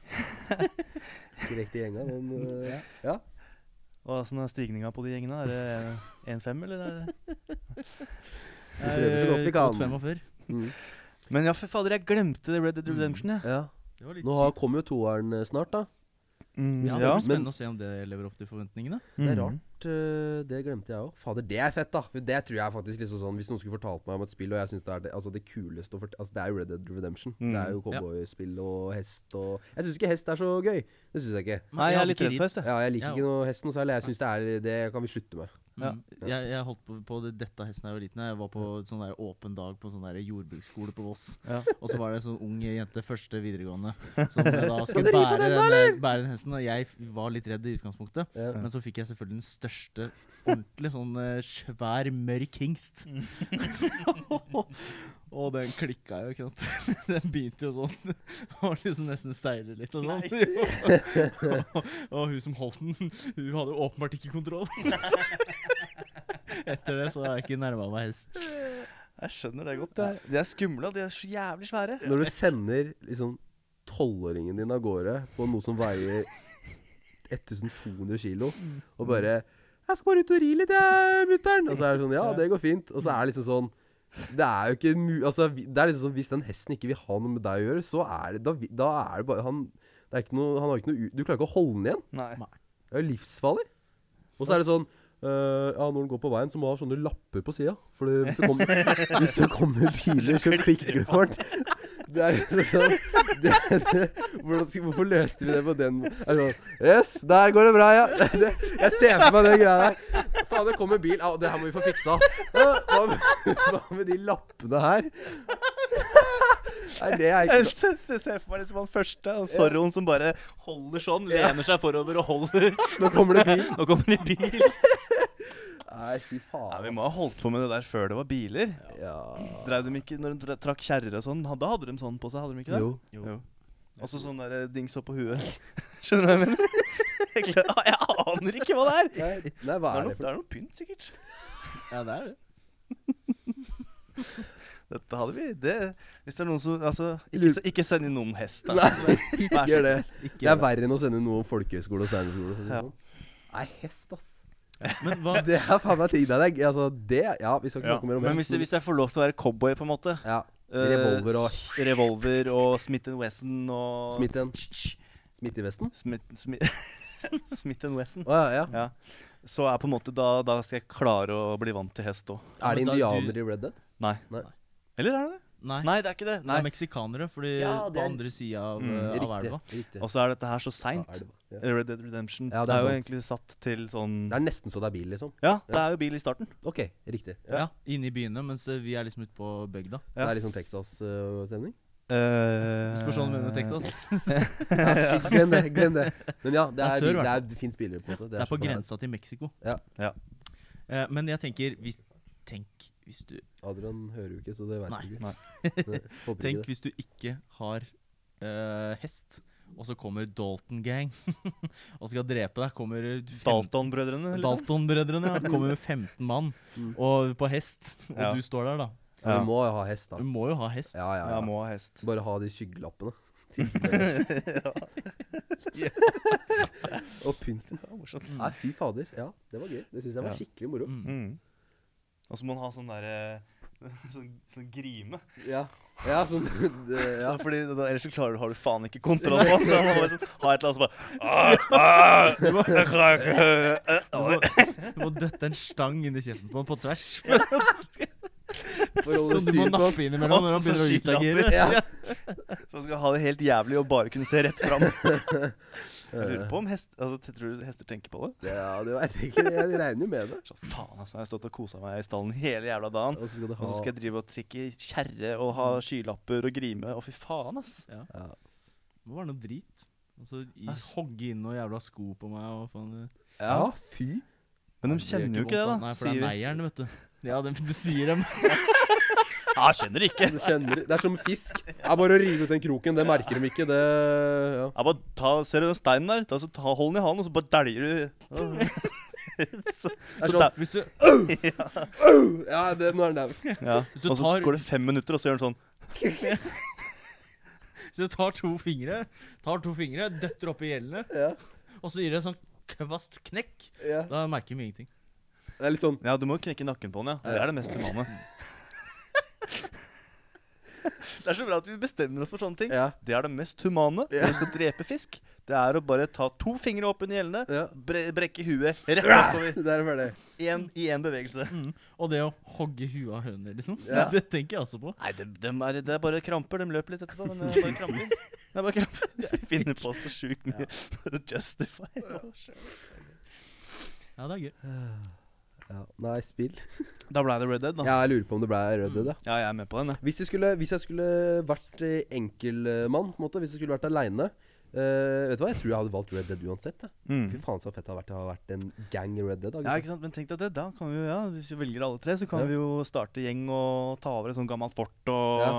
A: Direkte i gjenga, men øh, ja.
D: Og Åssen er stigninga på de gjengene? Er det 1-5, eller? Er det
A: Vi prøver så godt vi
C: Gått
A: kan.
C: fem og før.
A: Mm.
D: Men ja, for fader, jeg glemte det Red Dead Redemption, jeg.
A: Ja.
C: Det var litt
A: Nå har-
C: sykt.
A: kommer jo toeren eh, snart, da.
D: Mm,
A: Ja,
C: ja, det blir
A: men-
C: spennende å se om det lever opp til forventningene.
A: Det er
D: Mm.
A: rart. øh, Det glemte jeg òg. Fader, det er fett, da! For Det tror jeg faktisk liksom sånn Hvis noen skulle fortalt meg om et spill, og jeg syns det er det, altså det kuleste å fort- altså Det er jo Red Dead Redemption.
D: Mm.
A: Det er jo
C: Ja.
A: cowboyspill og hest og Jeg syns ikke hest er så gøy. Det syns jeg ikke.
C: Men
D: Nei, jeg
C: hadde
D: er litt
C: ikke
D: redd
C: ridd-
D: for hest, jeg.
A: Ja, jeg liker
C: Ja.
A: ikke noe hest noe særlig. Jeg syns det er Det kan vi slutte med.
D: Ja.
C: Mm. Jeg, jeg holdt på, på det, dette hesten da jeg var liten. Jeg var på sånn der åpen dag på sånn der jordbruksskole på Voss.
D: Ja.
C: Og så var det en sånn ung jente, første videregående, som da skulle bære den, der- bære den hesten. Og jeg f- var litt redd i utgangspunktet.
A: Ja.
C: Men så fikk jeg selvfølgelig den største, ordentlig sånn eh, svær, mørk hingst.
D: Mm.
C: og den klikka jo, ikke sant. Den begynte jo sånn. Og liksom nesten steiler litt og sånn. og, og hun som holdt den, hun hadde jo åpenbart ikke kontroll. Etter det så har jeg ikke nærma meg hest.
D: Jeg skjønner det godt. Jeg. De er skumle, og de er så jævlig svære.
A: Når du sender liksom tolvåringen din av gårde på noe som veier 1200 kilo, og bare 'Jeg skal bare ut og ri litt, jeg, mutter'n.' Og så er det sånn 'Ja, det går fint.' Og så er det liksom sånn det er jo ikke mu... Altså, vi- det er liksom sånn, Hvis den hesten ikke vil ha noe med deg å gjøre, så er det Da, vi- da er det bare Han det er ikke noe, han har ikke noe u- Du klarer ikke å holde den igjen.
D: Nei.
A: Det er jo livsfarlig. Og så er det sånn øh, Ja, når den går på veien, så må du ha sånne lapper på sida. For det- hvis det kommer, hvis det kommer biler, så klikker det for den. Det er liksom sånn det, det, hvordan, skal- Hvorfor løste vi det på den måten? Er det sånn Yes, der går det bra, ja. Det, jeg ser for meg den greia der. Faen, det kommer bil. Au, det her må vi få fiksa. Ja, Hva med, hva med de lappene her? Nei, det er ikke
D: Jeg ser ser for meg liksom han første, og Zorroen som bare holder sånn, lener seg forover og holder.
A: Nå kommer det bil.
D: Nå kommer det
A: Nei,
D: bil.
A: fy
D: Nei, Vi
A: faen.
D: må ha holdt på med det der før det var biler.
A: Ja.
D: Drev de ikke, Når de dra- trakk kjerrer og sånn, ha- da hadde de sånn på seg, hadde de ikke det?
A: Jo.
D: Jo. Også sånn der eh, dings opp på huet. Skjønner du hva jeg mener? Jeg gled- Ah, jeg aner ikke hva det er.
A: Nei, nei, hva
D: Det
A: er det
D: er noe, det er noe pynt, sikkert.
C: Ja, det er det.
D: Dette hadde vi det, Hvis det er noen som Altså, ikke, se- ikke send inn noen hest, da.
A: Nei, ikke
D: Vær så
A: gjør det.
D: Ikke
A: Det er
D: gjør det.
A: verre enn å sende noen folkehøyskole og steinerskole. for å si det
D: Ja.
A: sånn. Nei, hest, ass.
C: Men hva,
A: Det er faen meg ting der. det er- Altså, det Ja, vi skal ikke
D: Ja.
A: snakke mer om
D: Men hvis,
A: hest.
D: jeg- hvis jeg får lov til å være cowboy, på en måte
A: Ja.
D: eh,
A: Revolver og-
D: s- Revolver og Smith Wesson og
A: Smith en.
D: Smith
A: Smitt i vesten?
D: Smith, Smith Wesson.
A: Å ja, ja.
D: Ja. Så er på en måte da, da skal jeg klare å bli vant til hest òg.
A: Er det
C: men da
A: indianere
C: du-
A: i Red Dead?
D: Nei.
A: Nei.
D: Eller er det det?
C: nei,
D: Nei, det er ikke det.
C: det
D: Nei.
C: er meksikanere, fordi
A: Ja, det er-
C: på andre sida av,
D: Mm.
C: eh, av
A: Riktig.
C: elva.
A: riktig.
D: Og så er dette her så
A: Ja,
D: seint.
A: elva. Ja.
D: Red Dead Redemption
A: Ja, det
D: det
A: er
D: er, jo
A: sant.
D: egentlig satt til sånn
A: Det er nesten så det er bil, liksom.
D: Ja, det er jo bil i starten.
A: OK, riktig. Ja.
C: Ja, Inne i byene, mens eh, vi er liksom ute på bygda.
A: Det er litt sånn Texas-stemning. Eh,
C: Spørs hva du mener med
D: Eh,
C: Texas.
A: ja, glem det. glem Det Men ja, det,
C: er
A: er,
C: sør, i
A: det,
C: hvert
A: er, fins biler, på en måte.
C: Det er på
A: såpass.
C: grensa til Mexico.
A: Ja.
D: Ja.
C: Eh, men jeg tenker hvis, Tenk hvis du
A: Adrian hører jo ikke, så det veit
C: Nei.
A: du ikke.
D: Nei.
A: Nei. Håper
C: Tenk
A: ikke det.
C: hvis du ikke har eh, hest, og så kommer Dalton Gang og skal drepe deg. Kommer fem-
D: Dalton-brødrene, liksom.
C: Dalton-brødrene. ja. Kommer med 15 mann
A: Mm.
C: og på hest, og
D: Ja.
C: du står der, da.
A: Ja. Du må jo ha hest, da.
C: Du må jo ha hest.
A: Ja, ja,
D: Ja,
A: ja.
D: må ha hest.
A: Bare ha de skyggelappene. Og pynten.
D: Ja, morsomt.
A: Nei, fy fader. Ja, det var gøy. Det syns jeg var
D: Ja.
A: skikkelig moro.
C: Mm.
D: Mm. Og så må man ha sånn derre sånn, sånn grime.
A: Ja, ja sånn det, ja.
D: Så fordi, da, ellers så klarer du, har du faen ikke kontroll på det. Så man må bare sånn, ha et eller annet som bare
C: Du, må, du må døtte en stang inn i kjeften på ham på tvers. Som
A: For å holde
C: du må
A: styr på
C: nappe innimellom når han begynner å utagere.
A: Ja.
D: Så man skal ha det helt jævlig og bare kunne se rett fram. Jeg lurer på om hest, altså, tror du hester tenker på det?
A: det. Ja, det veit jeg ikke. Jeg regner jo med det.
D: Så, faen, altså. Jeg har stått og kosa meg i stallen hele jævla dagen.
A: Og så skal du
D: Og så skal
A: ha
D: jeg drive og trikke kjerre og ha skylapper og grime. Å, fy faen, ass.
A: ja.
C: Det må være noe drit. Og så i-
D: Ass.
C: hogge inn noen jævla sko på meg og faen eh. det-
A: ja, fy.
D: Men de
C: det gjør
D: kjenner jo ikke det,
C: vondt,
D: da.
C: Nei, for det
D: sier
C: er
D: vi.
C: neieren, vet du. Ja, det, det sier dem.
D: Ja, kjenner ikke.
A: Du kjenner, det er som fisk. Det er bare å rive ut den kroken. Det merker de ikke. Det ja.
D: Ja, bare ta, Ser du den steinen der? Ta, så ta, hold den i hånden, og så bare dæljer du. så,
A: Det er
D: så
A: sånn
D: der-
C: Hvis du,
A: Ja, det, nå er den der.
D: ja.
C: Hvis du
D: Og så
C: tar-
D: går det fem minutter, og så gjør den sånn.
C: hvis du tar to fingre, tar to fingre, døtter opp i gjellene,
A: Ja,
C: og så gir det en sånn kvast knekk,
A: ja.
C: da merker vi ingenting.
A: Det er litt sånn
D: Ja, du må jo knekke nakken på den, ja. Det er det mest humane. Det er så bra at vi bestemmer oss for sånne ting.
A: Ja.
D: Det er det mest humane
A: Ja.
D: når du skal drepe fisk. Det er å bare ta to fingre opp under gjellene,
A: Ja.
D: bre brekke huet rett oppover
A: Der er det ferdig.
D: en, i én bevegelse.
C: Og det å hogge huet av høner, liksom.
A: Ja.
C: Det tenker jeg også på.
D: Nei, det, dem er, det er bare kramper. De løper litt etterpå, men det er bare kramper. Det er bare kramper. De finner på så sjukt mye for å justify.
C: Ja, det er gøy.
A: Ja. Nei, spill.
D: Da ble det Red Dead, da.
A: Ja, jeg lurer på om det ble Red Dead, ja.
D: Ja, jeg er med på den, jeg.
A: Hvis jeg skulle, hvis jeg skulle vært eh, enkelmann, på en måte, hvis jeg skulle vært aleine eh, Vet du hva, jeg tror jeg hadde valgt Red Dead uansett. jeg.
D: Mm.
A: Fy faen så fett det hadde vært å ha vært en gang Red Dead. Da,
D: Ja,
A: gutter.
D: ikke sant? Men tenk deg det. Da kan vi jo, ja, Hvis vi velger alle tre, så kan
A: Ja.
D: vi jo starte gjeng og ta over et sånt gammelt fort og
A: Ja.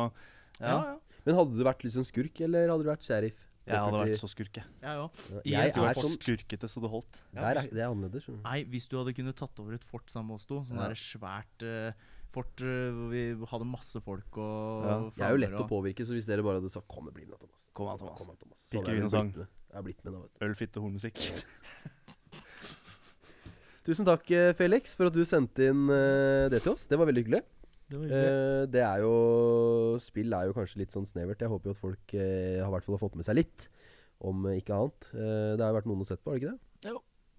D: Ja, ja.
A: Men hadde du vært liksom skurk, eller hadde du vært sheriff?
D: Jeg hadde
A: Deputy-
D: vært sånn. så skurke.
C: Jeg òg.
A: Ja,
C: i
A: Jeg
C: en stor
A: er
D: så
A: sånn
D: skurkete så det holdt.
A: der er, Det er annerledes. skjønner du.
C: Nei, hvis du hadde kunnet tatt over et fort sammen med oss to, sånn
A: Ja.
C: der svært eh, fort eh, hvor vi hadde masse folk og
D: Ja.
A: Jeg er jo
C: flammer
A: lett å
C: og-
A: påvirke, så hvis dere bare hadde sagt 'Kom og bli med, da, Thomas',
D: Kom igjen, Thomas.
A: med, Thomas. Så
D: Drikke
A: hadde jeg
D: vin og
A: blitt
D: sang.
A: med. Jeg har blitt med da, vet
D: Øl, fitte, hornmusikk.
A: du. Tusen takk, eh, Felix, for at du sendte inn eh, det til oss. Det var veldig hyggelig.
C: Det var
A: Eh,
C: hyggelig.
A: det er jo Spill er jo kanskje litt sånn snevert. Jeg håper jo at folk eh, har i hvert fall fått med seg litt, om eh, ikke annet. Eh, det har jo vært noen å sett på, har det ikke det?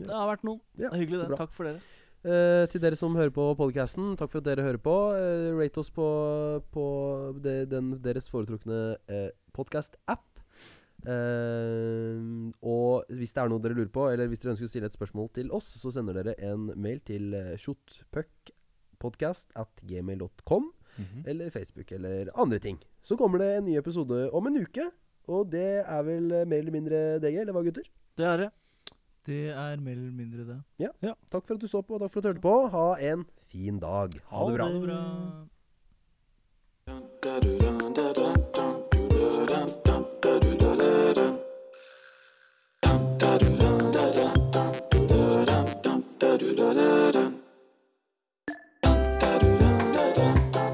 D: Det har vært noen.
A: Ja,
D: Det er
A: så
D: hyggelig, det.
A: bra.
D: Takk for dere.
A: Eh, til dere som hører på podcasten, takk for at dere hører på. Eh, rate oss på, på de, den, deres foretrukne eh, podcast-app. Eh, og hvis det er noe dere lurer på, eller hvis dere ønsker å stille et spørsmål til oss, så sender dere en mail til eh, shotpuckpodcast at gmail.com eller Facebook eller andre ting. Så kommer det en ny episode om en uke, og det er vel eh, mer eller mindre DG, eller hva, gutter?
D: Det er det.
C: Det er mer eller mindre det.
A: Takk for at du så på, og takk for at du hørte på. Ha en fin dag. Ha det bra.
C: Ha det bra.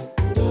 E: Da-da-da-da-da-da-da-da-da-da-da.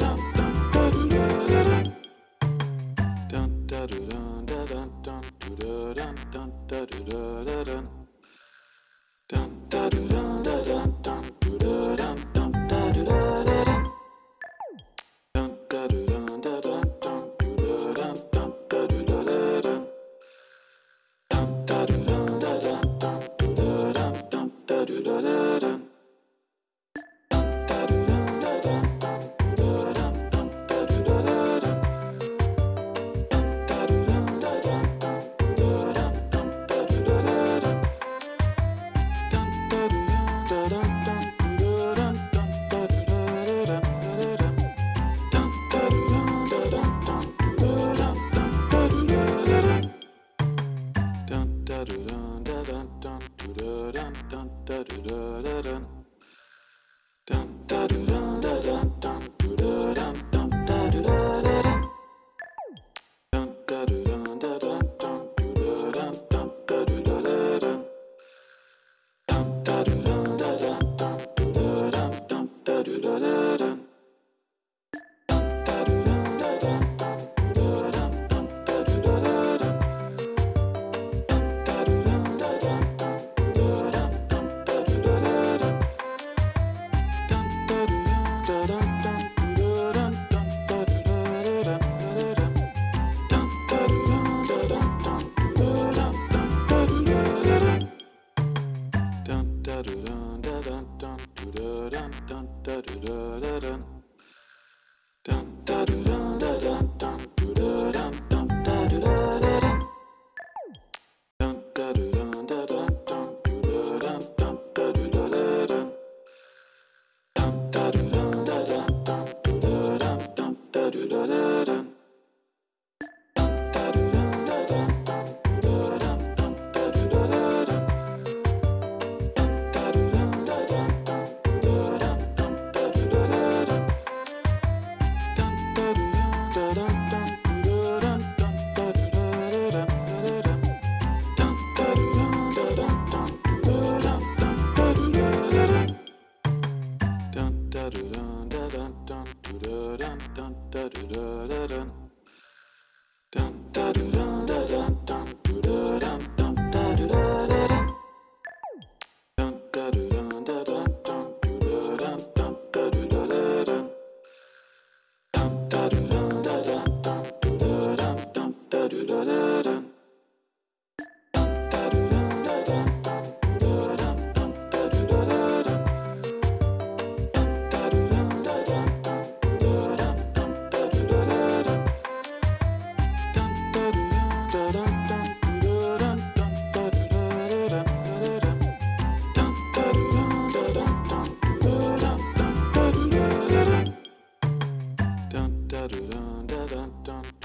E: Dun dun dun dun dun dun dun dun dun dun dun dun